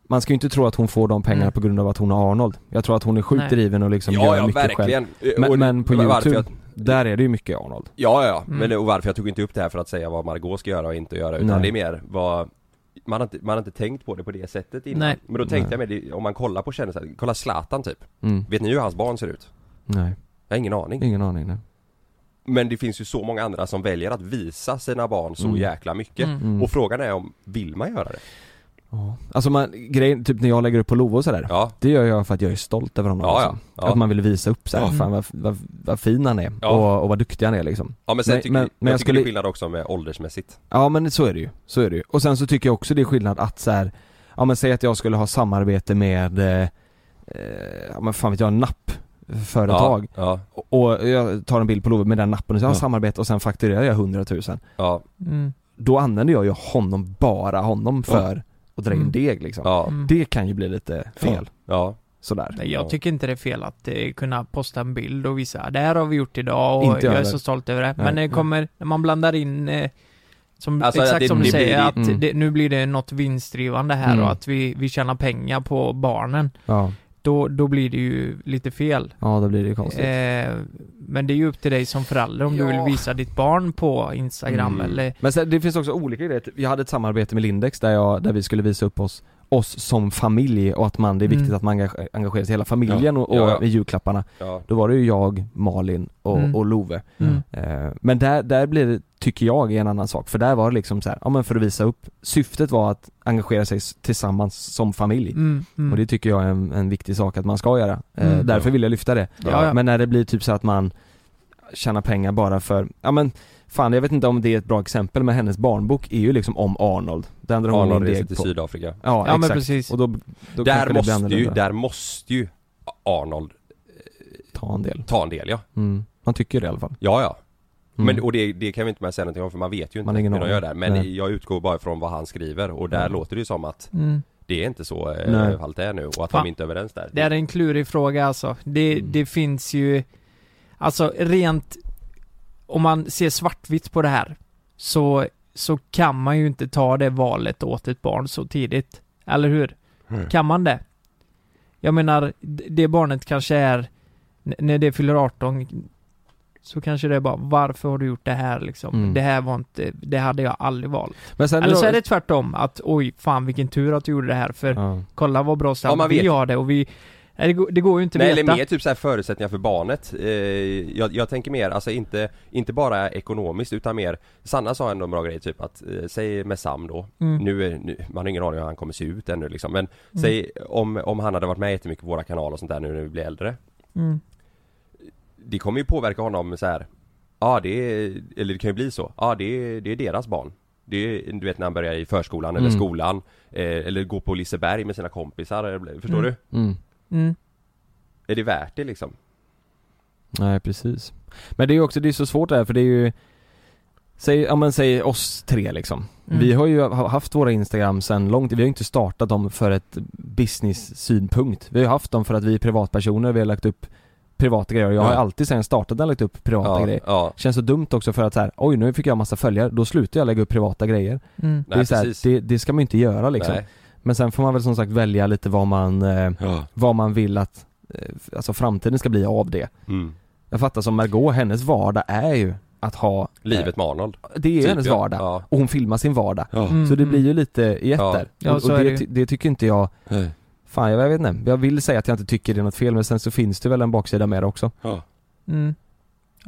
Speaker 2: man ska ju inte tro att hon får de pengarna
Speaker 1: Mm.
Speaker 2: på grund av att hon har Arnold Jag tror att hon är sjukt
Speaker 1: Nej.
Speaker 2: driven och liksom
Speaker 3: ja,
Speaker 2: gör
Speaker 3: ja
Speaker 2: mycket själv
Speaker 3: verkligen.
Speaker 2: men,
Speaker 3: Och-
Speaker 2: men på
Speaker 3: men varför
Speaker 2: youtube,
Speaker 3: jag-
Speaker 2: där är det ju mycket Arnold
Speaker 3: Ja, ja, ja.
Speaker 1: Mm.
Speaker 3: Men det- och varför jag tog inte upp det här för att säga vad Margot ska göra och inte göra utan
Speaker 2: Nej.
Speaker 3: det är mer vad man har, inte, man har inte tänkt på det på det sättet innan.
Speaker 1: Nej.
Speaker 3: Men då tänkte
Speaker 2: Nej.
Speaker 3: jag mig, det- om man kollar på kändisar, kolla Zlatan typ.
Speaker 2: mm.
Speaker 3: Vet ni hur hans barn ser ut?
Speaker 2: Nej,
Speaker 3: Jag har ingen aning.
Speaker 2: ingen aning nej.
Speaker 3: Men det finns ju så många andra som väljer att visa sina barn så
Speaker 2: Mm.
Speaker 3: jäkla mycket.
Speaker 1: Mm.
Speaker 2: Mm.
Speaker 3: Och frågan är om, vill man göra det?
Speaker 2: Ja. Alltså man, grejen, typ när jag lägger upp på Love och sådär
Speaker 3: Ja,
Speaker 2: Det gör jag för att jag är stolt över honom
Speaker 3: Ja, ja.
Speaker 2: liksom.
Speaker 3: Ja.
Speaker 2: Att man vill visa upp såhär,
Speaker 1: Ja.
Speaker 2: fan vad, vad, vad fin han är
Speaker 3: Ja.
Speaker 2: och, och vad duktig han är liksom
Speaker 3: ja men sen
Speaker 2: Men-
Speaker 3: tycker
Speaker 2: men-
Speaker 3: jag,
Speaker 2: men jag
Speaker 3: jag tycker det
Speaker 2: skulle-
Speaker 3: är skillnad också med åldersmässigt.
Speaker 2: Ja men så är det ju, så är det ju. Och sen så tycker jag också det är skillnad att så här, ja men säg att jag skulle ha samarbete med, eh, eh, ja men fan vet jag, nappföretag.
Speaker 3: Ja, ja,
Speaker 2: Och, och jag tar en bild på Love med den nappen och så har jag
Speaker 3: Ja.
Speaker 2: samarbete och sen fakturerar jag 100 000.
Speaker 3: ja,
Speaker 1: Mm.
Speaker 2: Då använder jag ju honom, bara honom för att dra in
Speaker 1: Mm.
Speaker 2: deg liksom.
Speaker 3: ja,
Speaker 1: Mm.
Speaker 2: Det kan ju bli lite fel,
Speaker 3: ja.
Speaker 2: sådär.
Speaker 1: Nej, jag tycker inte det är fel att eh, kunna posta en bild och visa det här har vi gjort idag och
Speaker 2: Inte jag
Speaker 1: jag är
Speaker 2: heller.
Speaker 1: så stolt över det.
Speaker 2: Nej.
Speaker 1: Men det kommer, när man blandar in eh, som,
Speaker 3: Alltså,
Speaker 1: exakt
Speaker 3: att det-
Speaker 1: som du
Speaker 3: det blir-
Speaker 1: säger, att
Speaker 2: Mm.
Speaker 1: det, nu blir det något vinstdrivande här
Speaker 2: Mm.
Speaker 1: och att vi, vi tjänar pengar på barnen.
Speaker 2: Ja,
Speaker 1: Då, då blir det ju lite fel.
Speaker 2: ja då blir det ju konstigt.
Speaker 1: Eh, men det är ju upp till dig som förälder om du
Speaker 2: Ja.
Speaker 1: vill visa ditt barn på Instagram
Speaker 3: Mm.
Speaker 1: eller
Speaker 2: Men sen, det finns också olika grejer, Typ, jag hade ett samarbete med Lindex där, jag, där vi skulle visa upp oss, oss som familj och att man, det är viktigt
Speaker 1: Mm.
Speaker 2: att man engage- engagerar sig i hela familjen och, och
Speaker 3: Ja, ja.
Speaker 2: i julklapparna
Speaker 3: ja.
Speaker 2: Då var det ju jag, Malin och,
Speaker 1: Mm.
Speaker 2: och Love
Speaker 1: Mm.
Speaker 2: eh, Men där, där blir det, tycker jag, är en annan sak för där var det liksom så här, ja men för att visa upp, syftet var att engagera sig s- tillsammans som familj
Speaker 1: Mm, mm.
Speaker 2: Och det tycker jag är en, en viktig sak att man ska göra, eh,
Speaker 1: Mm.
Speaker 2: därför vill jag lyfta det
Speaker 1: ja, ja.
Speaker 2: men när det blir typ så att man tjänar pengar bara för, ja men fan jag vet inte om det är ett bra exempel men hennes barnbok är ju liksom om Arnold. Den drar hon
Speaker 3: Arnold
Speaker 2: in
Speaker 3: reser
Speaker 2: deg
Speaker 3: till
Speaker 2: på.
Speaker 3: Sydafrika.
Speaker 2: Ja,
Speaker 1: Ja, men
Speaker 2: exakt.
Speaker 1: precis.
Speaker 2: Och då, då kanske
Speaker 3: Där
Speaker 2: det blir
Speaker 3: måste, ju,
Speaker 2: annorlunda.
Speaker 3: där måste ju Arnold
Speaker 2: Ta en del.
Speaker 3: ta en del ja.
Speaker 2: Mm. Man tycker det i alla fall.
Speaker 3: Ja, ja.
Speaker 2: Mm.
Speaker 3: Men, och det, det kan vi inte med säga någonting om för man vet ju inte
Speaker 2: Man har ingen
Speaker 3: hur de
Speaker 2: aning.
Speaker 3: gör där. Men
Speaker 2: Nej.
Speaker 3: jag utgår bara från vad han skriver och där
Speaker 2: Mm.
Speaker 3: låter det ju som att
Speaker 1: Mm.
Speaker 3: det är inte så
Speaker 2: Nej.
Speaker 3: eh, allt är nu och att
Speaker 1: Fan.
Speaker 3: de inte är överens där.
Speaker 1: Det är en klurig fråga alltså. Det,
Speaker 2: Mm.
Speaker 1: det finns ju, alltså rent, om man ser svartvitt på det här, så, så kan man ju inte ta det valet åt ett barn så tidigt. Eller hur?
Speaker 3: Mm.
Speaker 1: Kan man det? Jag menar, d- det barnet kanske är, n- när det fyller 18, så kanske det är bara, varför har du gjort det här liksom?
Speaker 2: Mm.
Speaker 1: Det här var inte, det hade jag aldrig valt.
Speaker 2: Men sen
Speaker 1: Eller så är det tvärtom, att oj, fan vilken tur att du gjorde det här, för
Speaker 2: ja.
Speaker 1: kolla vad bra
Speaker 3: Ja,
Speaker 1: stamp
Speaker 3: man
Speaker 1: vi
Speaker 3: vet.
Speaker 1: har det och vi Nej, det, går, det går ju inte
Speaker 3: Nej,
Speaker 1: att
Speaker 3: eller
Speaker 1: veta.
Speaker 3: mer typ så här förutsättningar för barnet. Eh, jag, jag tänker mer, alltså inte, inte bara ekonomiskt utan mer Sanna sa ändå en bra grej typ att, eh, säg med Sam då,
Speaker 1: Mm.
Speaker 3: nu, är, nu, man har ingen aning hur han kommer se ut ännu liksom men
Speaker 2: Mm.
Speaker 3: säg om, om han hade varit med jättemycket på våra kanaler och sånt där nu när vi blir äldre
Speaker 1: Mm.
Speaker 3: det kommer ju påverka honom så här. Ja det är, eller det kan ju bli så. Ja det är, det är deras barn. Det är, du vet när han börjar i förskolan eller
Speaker 2: Mm.
Speaker 3: skolan eh, Eller går på Liseberg med sina kompisar, eller- förstår
Speaker 1: Mm.
Speaker 2: Mm.
Speaker 1: Mm.
Speaker 3: du? Är det värt det liksom?
Speaker 2: Nej precis. Men det är ju också, det är så svårt det här för det är ju Säg, ja men säg oss tre liksom.
Speaker 1: Mm.
Speaker 2: Vi har ju ha- haft våra Instagram sen långt, vi har ju inte startat dem för ett business-synpunkt. Vi har ju haft dem för att vi är privatpersoner, vi har lagt upp privata grejer och jag har
Speaker 3: Ja.
Speaker 2: alltid sen jag startade lagt upp privata
Speaker 3: Ja,
Speaker 2: grejer.
Speaker 3: ja.
Speaker 2: Känns så dumt också för att så här, oj nu fick jag massa följare, då slutar jag lägga upp privata grejer.
Speaker 1: Mm.
Speaker 3: Nej
Speaker 2: det, är så här,
Speaker 3: precis.
Speaker 2: det, det ska man ju inte göra liksom.
Speaker 3: Nej.
Speaker 2: Men sen får man väl som sagt välja lite vad man, eh,
Speaker 3: Ja.
Speaker 2: vad man vill att, eh, alltså framtiden ska bli av det.
Speaker 3: Mm.
Speaker 2: Jag fattar som Margot, hennes vardag är ju att ha eh,
Speaker 3: Livet med Arnold.
Speaker 2: Det är ju
Speaker 3: Typ,
Speaker 2: hennes
Speaker 3: ja.
Speaker 2: vardag.
Speaker 3: Ja.
Speaker 2: Och hon filmar sin vardag.
Speaker 1: Mm.
Speaker 2: Så det blir ju lite i ett
Speaker 3: Ja.
Speaker 2: där.
Speaker 1: Ja,
Speaker 2: och
Speaker 1: så
Speaker 2: och
Speaker 1: är
Speaker 2: det,
Speaker 1: det ju.
Speaker 2: ty- det tycker inte jag, fan jag, jag vet inte. Jag vill säga att jag inte tycker det är något fel men sen så finns det väl en baksida med det också.
Speaker 1: Mm.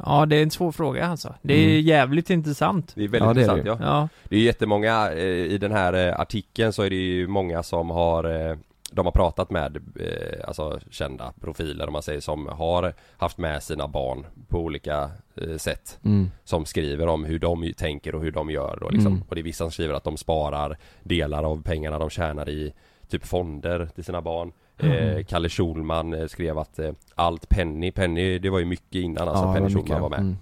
Speaker 1: Ja, det är en svår fråga alltså. Det är
Speaker 2: Mm.
Speaker 1: jävligt intressant.
Speaker 3: Det är väldigt
Speaker 2: Ja, det är det
Speaker 3: intressant
Speaker 2: ju.
Speaker 3: ja.
Speaker 1: Ja.
Speaker 3: Det är jättemånga, eh, i den här eh, artikeln så är det ju många som har eh, de har pratat med eh, alltså, kända profiler om man säger som har haft med sina barn på olika eh, sätt
Speaker 2: Mm.
Speaker 3: som skriver om hur de ju tänker och hur de gör då liksom.
Speaker 2: Mm.
Speaker 3: Och det är vissa som skriver att de sparar delar av pengarna de tjänar i typ fonder till sina barn.
Speaker 2: Mm.
Speaker 3: Eh, Kalle Schulman eh, skrev att eh, allt Penny, Penny det var ju mycket innan alltså
Speaker 2: det var
Speaker 3: Penny
Speaker 2: mycket,
Speaker 3: Schulman var med.
Speaker 2: Mm.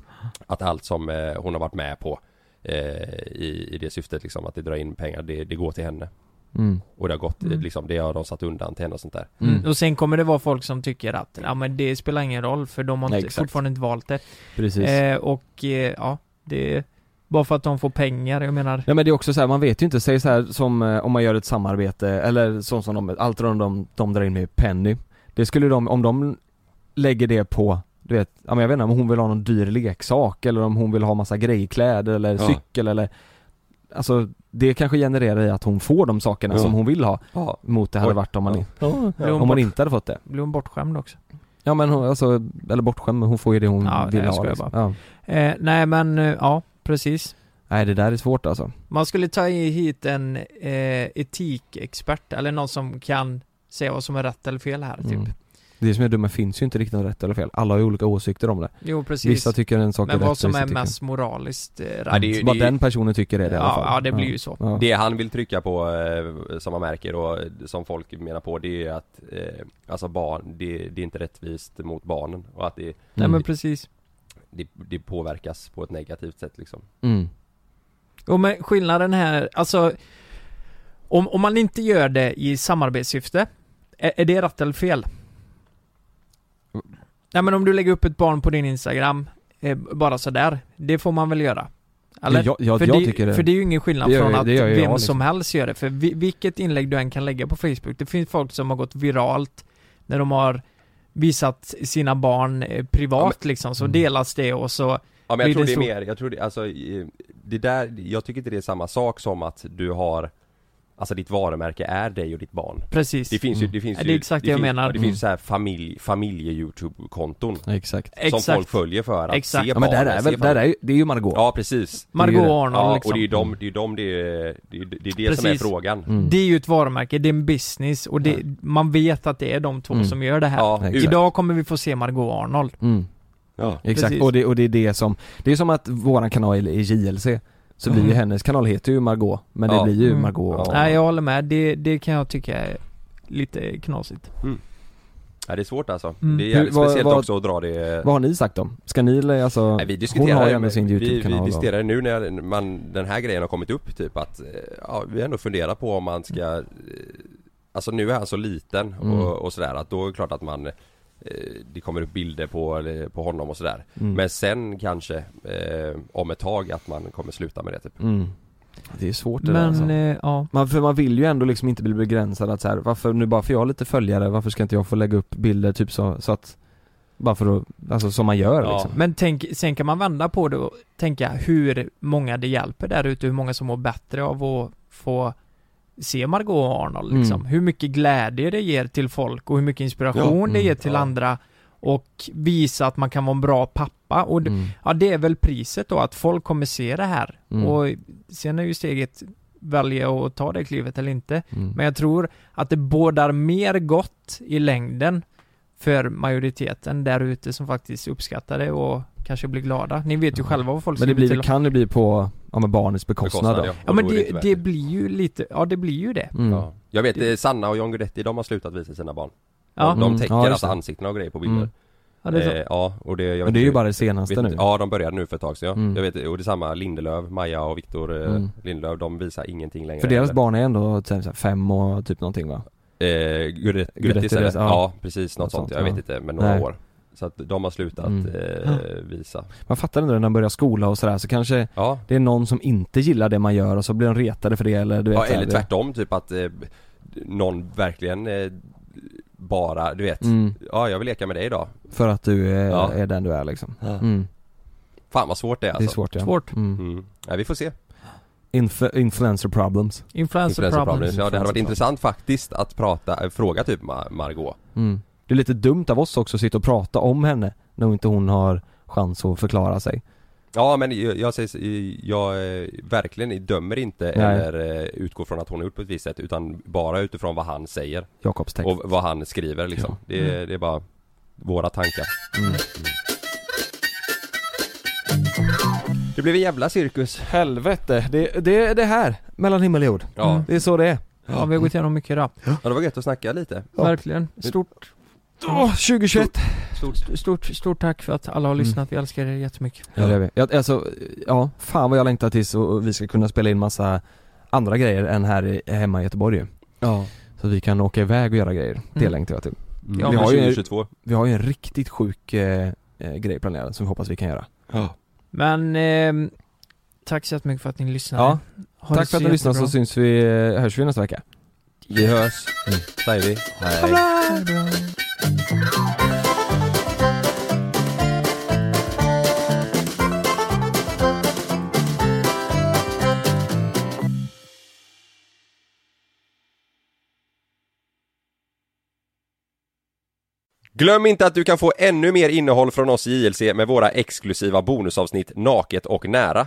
Speaker 3: Att allt som eh, hon har varit med på eh, i, i det syftet liksom att det drar in pengar, det, det går till henne.
Speaker 2: Mm.
Speaker 3: Och det har gått, eh,
Speaker 1: Mm.
Speaker 3: liksom, det har de satt undan till henne och sånt där.
Speaker 2: Mm.
Speaker 1: Och sen kommer det vara folk som tycker att, ja men det spelar ingen roll för de har
Speaker 2: Nej,
Speaker 1: inte,
Speaker 2: exakt.
Speaker 1: fortfarande inte valt det.
Speaker 2: Precis.
Speaker 1: Eh, och eh, ja, det är bara för att de får pengar, jag menar.
Speaker 2: Ja men det är också så här, man vet ju inte, säg så här som eh, om man gör ett samarbete eller sånt som de, allt de, de, de drar in med Penny Det skulle de, om de lägger det på, du vet, ja men jag vet inte om hon vill ha någon dyr leksak eller om hon vill ha massa grejkläder eller
Speaker 3: Ja.
Speaker 2: cykel eller Alltså det kanske genererar i att hon får de sakerna
Speaker 3: Ja.
Speaker 2: som hon vill ha
Speaker 3: Ja,
Speaker 2: mot det hade
Speaker 3: Oj.
Speaker 2: varit om man,
Speaker 3: Ja.
Speaker 2: i-
Speaker 1: Blir hon,
Speaker 2: om man
Speaker 1: bort,
Speaker 2: inte hade fått det
Speaker 1: blir hon bortskämd också?
Speaker 2: Ja men hon, alltså, eller bortskämd men hon får ju det hon
Speaker 1: Ja, nej,
Speaker 2: vill
Speaker 1: jag
Speaker 2: ha
Speaker 1: skojar
Speaker 2: liksom. ja.
Speaker 1: Eh, nej men, eh, ja precis.
Speaker 2: Nej det där är svårt alltså
Speaker 1: Man skulle ta i- hit en eh, etikexpert, eller någon som kan säga vad som är rätt eller fel här typ.
Speaker 2: Mm. Det som är dumt, det finns ju inte riktigt något rätt eller fel, alla har ju olika åsikter om det
Speaker 1: Jo precis.
Speaker 2: Vissa tycker en sak
Speaker 1: men
Speaker 2: är
Speaker 1: vad
Speaker 2: rätt,
Speaker 1: som
Speaker 2: vissa
Speaker 1: är
Speaker 2: tycker-
Speaker 1: mest moraliskt eh, rätt.
Speaker 3: Ja, det är ju-
Speaker 2: Vad den personen tycker är det i alla
Speaker 1: ja,
Speaker 2: fall.
Speaker 1: ja, det blir ju så.
Speaker 2: Ja. Mm.
Speaker 3: Det han vill trycka på eh, som man märker och eh, som folk menar på det är att eh, Alltså barn, det, det är inte rättvist mot barnen och att det,
Speaker 1: Nej
Speaker 2: Mm.
Speaker 1: men precis.
Speaker 3: det, det påverkas på ett negativt sätt liksom
Speaker 2: Mm.
Speaker 1: Och men skillnaden här, alltså om, om man inte gör det i samarbetssyfte, är, är det rätt eller fel? Nej men om du lägger upp ett barn på din Instagram, eh, bara sådär, det får man väl göra? Eller?
Speaker 2: Jag, jag,
Speaker 1: för,
Speaker 2: jag
Speaker 1: det,
Speaker 2: tycker det.
Speaker 1: för det är ju ingen skillnad
Speaker 2: Det gör
Speaker 1: från
Speaker 2: ju-
Speaker 1: att
Speaker 2: det gör ju
Speaker 1: vem
Speaker 2: jag, liksom.
Speaker 1: som helst gör det. För vi, vilket inlägg du än kan lägga på Facebook, det finns folk som har gått viralt när de har visat sina barn eh, privat liksom, så
Speaker 2: Mm.
Speaker 1: delas det och så,
Speaker 3: Ja men jag
Speaker 1: Blir
Speaker 3: tror
Speaker 1: det
Speaker 3: det är
Speaker 1: så-
Speaker 3: mer, jag tror det, alltså eh, Det där, jag tycker inte det är samma sak som att du har Alltså ditt varumärke är dig och ditt barn
Speaker 1: precis.
Speaker 3: Det finns ju, det finns
Speaker 1: Mm. Ja,
Speaker 3: ju
Speaker 1: det är exakt det jag
Speaker 3: finns,
Speaker 1: menar. Mm.
Speaker 3: och Det finns så här familj, familje-youtube-konton
Speaker 2: Exakt.
Speaker 3: Som
Speaker 1: Exakt.
Speaker 3: folk följer för att
Speaker 1: Exakt.
Speaker 3: se
Speaker 2: Ja, men där
Speaker 3: barnen,
Speaker 2: är
Speaker 3: se
Speaker 2: väl, där
Speaker 3: familjen.
Speaker 2: är ju, det är ju Margot.
Speaker 3: Ja precis
Speaker 1: Margot
Speaker 2: Det är ju det.
Speaker 1: Arnold
Speaker 3: Ja,
Speaker 1: liksom.
Speaker 3: och det är ju de, det är ju de det är, det är det, är det som är
Speaker 1: Precis.
Speaker 3: frågan
Speaker 2: Mm.
Speaker 1: Det är ju ett varumärke, det är en business och det, man vet att det är de två
Speaker 2: Mm.
Speaker 1: som gör det här.
Speaker 3: Ja,
Speaker 2: Exakt.
Speaker 3: utan-
Speaker 1: Idag kommer vi få se Margot Arnold.
Speaker 2: Mm.
Speaker 3: ja.
Speaker 2: Exakt,
Speaker 1: Precis.
Speaker 2: och det, och det är det som, det är som att våran kanal är JLC, så blir ju
Speaker 1: Mm.
Speaker 2: hennes kanal heter ju Margot, men
Speaker 3: Ja.
Speaker 2: det blir ju
Speaker 1: Mm.
Speaker 2: Margot
Speaker 3: Ja.
Speaker 1: Nej, jag håller med. Det, det kan jag tycka är lite knasigt.
Speaker 3: Ja, det är svårt alltså.
Speaker 1: Mm.
Speaker 3: Det är jävligt
Speaker 2: Hur- vad-
Speaker 3: speciellt
Speaker 2: vad-
Speaker 3: också att dra det...
Speaker 2: Vad har ni sagt om? Ska ni, alltså,
Speaker 3: Nej, vi
Speaker 2: hon har
Speaker 3: diskuterar
Speaker 2: ju ändå sin
Speaker 3: vi, vi
Speaker 2: YouTube-kanal och-
Speaker 3: diskuterar nu när man, den här grejen har kommit upp typ att eh, ja, vi har ändå funderat på om man ska eh, Alltså nu är han så liten
Speaker 2: Mm.
Speaker 3: och, och sådär att då är det klart att man eh, Det kommer upp bilder på, på honom och sådär
Speaker 2: Mm.
Speaker 3: Men sen kanske eh, om ett tag att man kommer sluta med det typ
Speaker 2: Mm. Det är svårt det där alltså.
Speaker 1: Men, eh, ja.
Speaker 2: Man, för man vill ju ändå liksom inte bli begränsad att så här, varför, nu bara för jag har lite följare, varför ska inte jag få lägga upp bilder typ så, så att Bara för att, alltså som man gör
Speaker 3: Ja.
Speaker 2: liksom
Speaker 1: Men tänk, sen kan man vända på det och tänka hur många det hjälper där ute, hur många som mår bättre av att få se Margot och Arnold liksom.
Speaker 2: Mm.
Speaker 1: Hur mycket glädje det ger till folk och hur mycket inspiration
Speaker 2: Ja,
Speaker 1: det
Speaker 2: mm,
Speaker 1: ger till
Speaker 3: ja.
Speaker 1: andra och visa att man kan vara en bra pappa och d-
Speaker 2: Mm.
Speaker 1: ja, det är väl priset då att folk kommer se det här
Speaker 2: Mm.
Speaker 1: och sen är ju steget välja att ta det klivet eller inte.
Speaker 2: Mm.
Speaker 1: Men jag tror att det bådar mer gott i längden för majoriteten där ute som faktiskt uppskattar det och kanske blir glada. Ni vet ju
Speaker 2: Ja.
Speaker 1: själva vad folk
Speaker 2: Men
Speaker 1: skriver
Speaker 2: det, blir,
Speaker 1: till
Speaker 2: det
Speaker 1: om.
Speaker 2: kan ju bli på, ja men barnets bekostnad då.
Speaker 3: Bekostnad,
Speaker 1: Ja
Speaker 3: Och
Speaker 1: men
Speaker 3: då är
Speaker 1: det,
Speaker 3: inte
Speaker 1: det,
Speaker 3: värt det.
Speaker 1: blir ju lite, ja det blir ju det.
Speaker 2: Mm.
Speaker 3: Ja. Jag vet eh, Sanna och John Guidetti, de har slutat visa sina barn
Speaker 1: Ja,
Speaker 3: De, de
Speaker 2: Mm.
Speaker 3: täcker
Speaker 2: Ja, just
Speaker 3: alltså
Speaker 2: det.
Speaker 3: ansiktena och grejer på bilder
Speaker 2: Mm.
Speaker 1: ja det är så.
Speaker 3: Eh, ja, och det, jag vet
Speaker 2: Men det är ju
Speaker 3: inte-
Speaker 2: bara det
Speaker 3: vet
Speaker 2: senaste
Speaker 3: inte-
Speaker 2: nu
Speaker 3: Ja, de började nu för ett tag sedan. Ja.
Speaker 2: Mm.
Speaker 3: Jag vet, och detsamma Lindelöf, Maja och Viktor eh,
Speaker 2: Mm.
Speaker 3: Lindelöf, de visar ingenting längre.
Speaker 2: För deras
Speaker 3: heller.
Speaker 2: barn är ändå typ så här fem och typ någonting va?
Speaker 3: Eh, Gudet-
Speaker 2: Gudetti,
Speaker 3: Gudettis eller?
Speaker 2: det-
Speaker 3: Ja.
Speaker 2: ja.
Speaker 3: precis, något
Speaker 2: Något
Speaker 3: sånt.
Speaker 2: sånt,
Speaker 3: Jag vet
Speaker 2: ja.
Speaker 3: inte, men några
Speaker 2: Nej.
Speaker 3: år. Så att de har slutat
Speaker 2: Mm.
Speaker 3: eh, visa.
Speaker 2: Man fattar ändå när de börjar skola och sådär så kanske
Speaker 3: Ja,
Speaker 2: det är någon som inte gillar det man gör och så blir de retade för det eller du vet
Speaker 3: ja
Speaker 2: så här,
Speaker 3: eller
Speaker 2: det-
Speaker 3: tvärtom, typ att eh, någon verkligen eh, bara, du vet.
Speaker 2: mm,
Speaker 3: Ja, jag vill leka med dig idag.
Speaker 2: För att du är,
Speaker 3: Ja.
Speaker 2: är den du är liksom
Speaker 3: Mm.
Speaker 2: mm.
Speaker 3: Fan vad svårt det är
Speaker 2: Det är
Speaker 3: alltså.
Speaker 2: svårt ja
Speaker 1: Svårt.
Speaker 2: Mm.
Speaker 3: Mm. Ja, vi får se.
Speaker 2: Influ- influencer problems
Speaker 1: Influencer, problems.
Speaker 3: Influencer Alltså, problems. Ja, det hade varit
Speaker 2: Influencer
Speaker 3: intressant faktiskt att prata, eh, fråga typ Ma- Margot.
Speaker 2: Mm. Det är lite dumt av oss också att sitta och prata om henne när inte hon har chans att förklara sig.
Speaker 3: Ja men jag, jag säger, jag eh, verkligen dömer inte eller eh, utgår från att hon har gjort på ett visst sätt utan bara utifrån vad han säger
Speaker 2: Jakobstext.
Speaker 3: och vad han skriver liksom. Det, är- det är bara våra tankar. Mm. Det blev en jävla cirkus.
Speaker 2: Helvete, det, det, det här, mellan himmel och jord.
Speaker 3: Ja.
Speaker 2: Det är så det är.
Speaker 1: Ja, vi har gått igenom mycket idag.
Speaker 3: ja, det var gött att snacka lite.
Speaker 2: Ja.
Speaker 1: Verkligen. Stort,
Speaker 2: Åh, 2021!
Speaker 3: Stort
Speaker 1: stort, stort tack för att alla har lyssnat. Vi älskar er jättemycket.
Speaker 2: Mm. Ja det gör vi. Jag, alltså, ja, fan vad jag längtar tills och- och vi ska kunna spela in massa andra grejer än här i, hemma i Göteborg ju.
Speaker 3: Ja.
Speaker 2: Så att vi kan åka iväg och göra grejer. Det
Speaker 1: Mm.
Speaker 2: längtar jag till.
Speaker 3: Mm.
Speaker 1: Ja,
Speaker 3: vi
Speaker 1: men
Speaker 3: har ju
Speaker 2: 2022.
Speaker 3: 2022.
Speaker 2: Vi har ju en riktigt sjuk eh, eh, grej planerad som vi hoppas vi kan göra.
Speaker 1: Men, ehm, tack så jättemycket för att ni lyssnade.
Speaker 2: Ja,
Speaker 1: Ha det
Speaker 2: tack för att ni lyssnade så
Speaker 1: jättebra.
Speaker 2: syns vi, eh, hörs vi nästa vecka. Mm.
Speaker 3: Vi hörs. Säger vi. Hej.
Speaker 1: Ha det bra.
Speaker 3: Glöm inte att du kan få ännu mer innehåll från oss i JLC med våra exklusiva bonusavsnitt Naket och nära.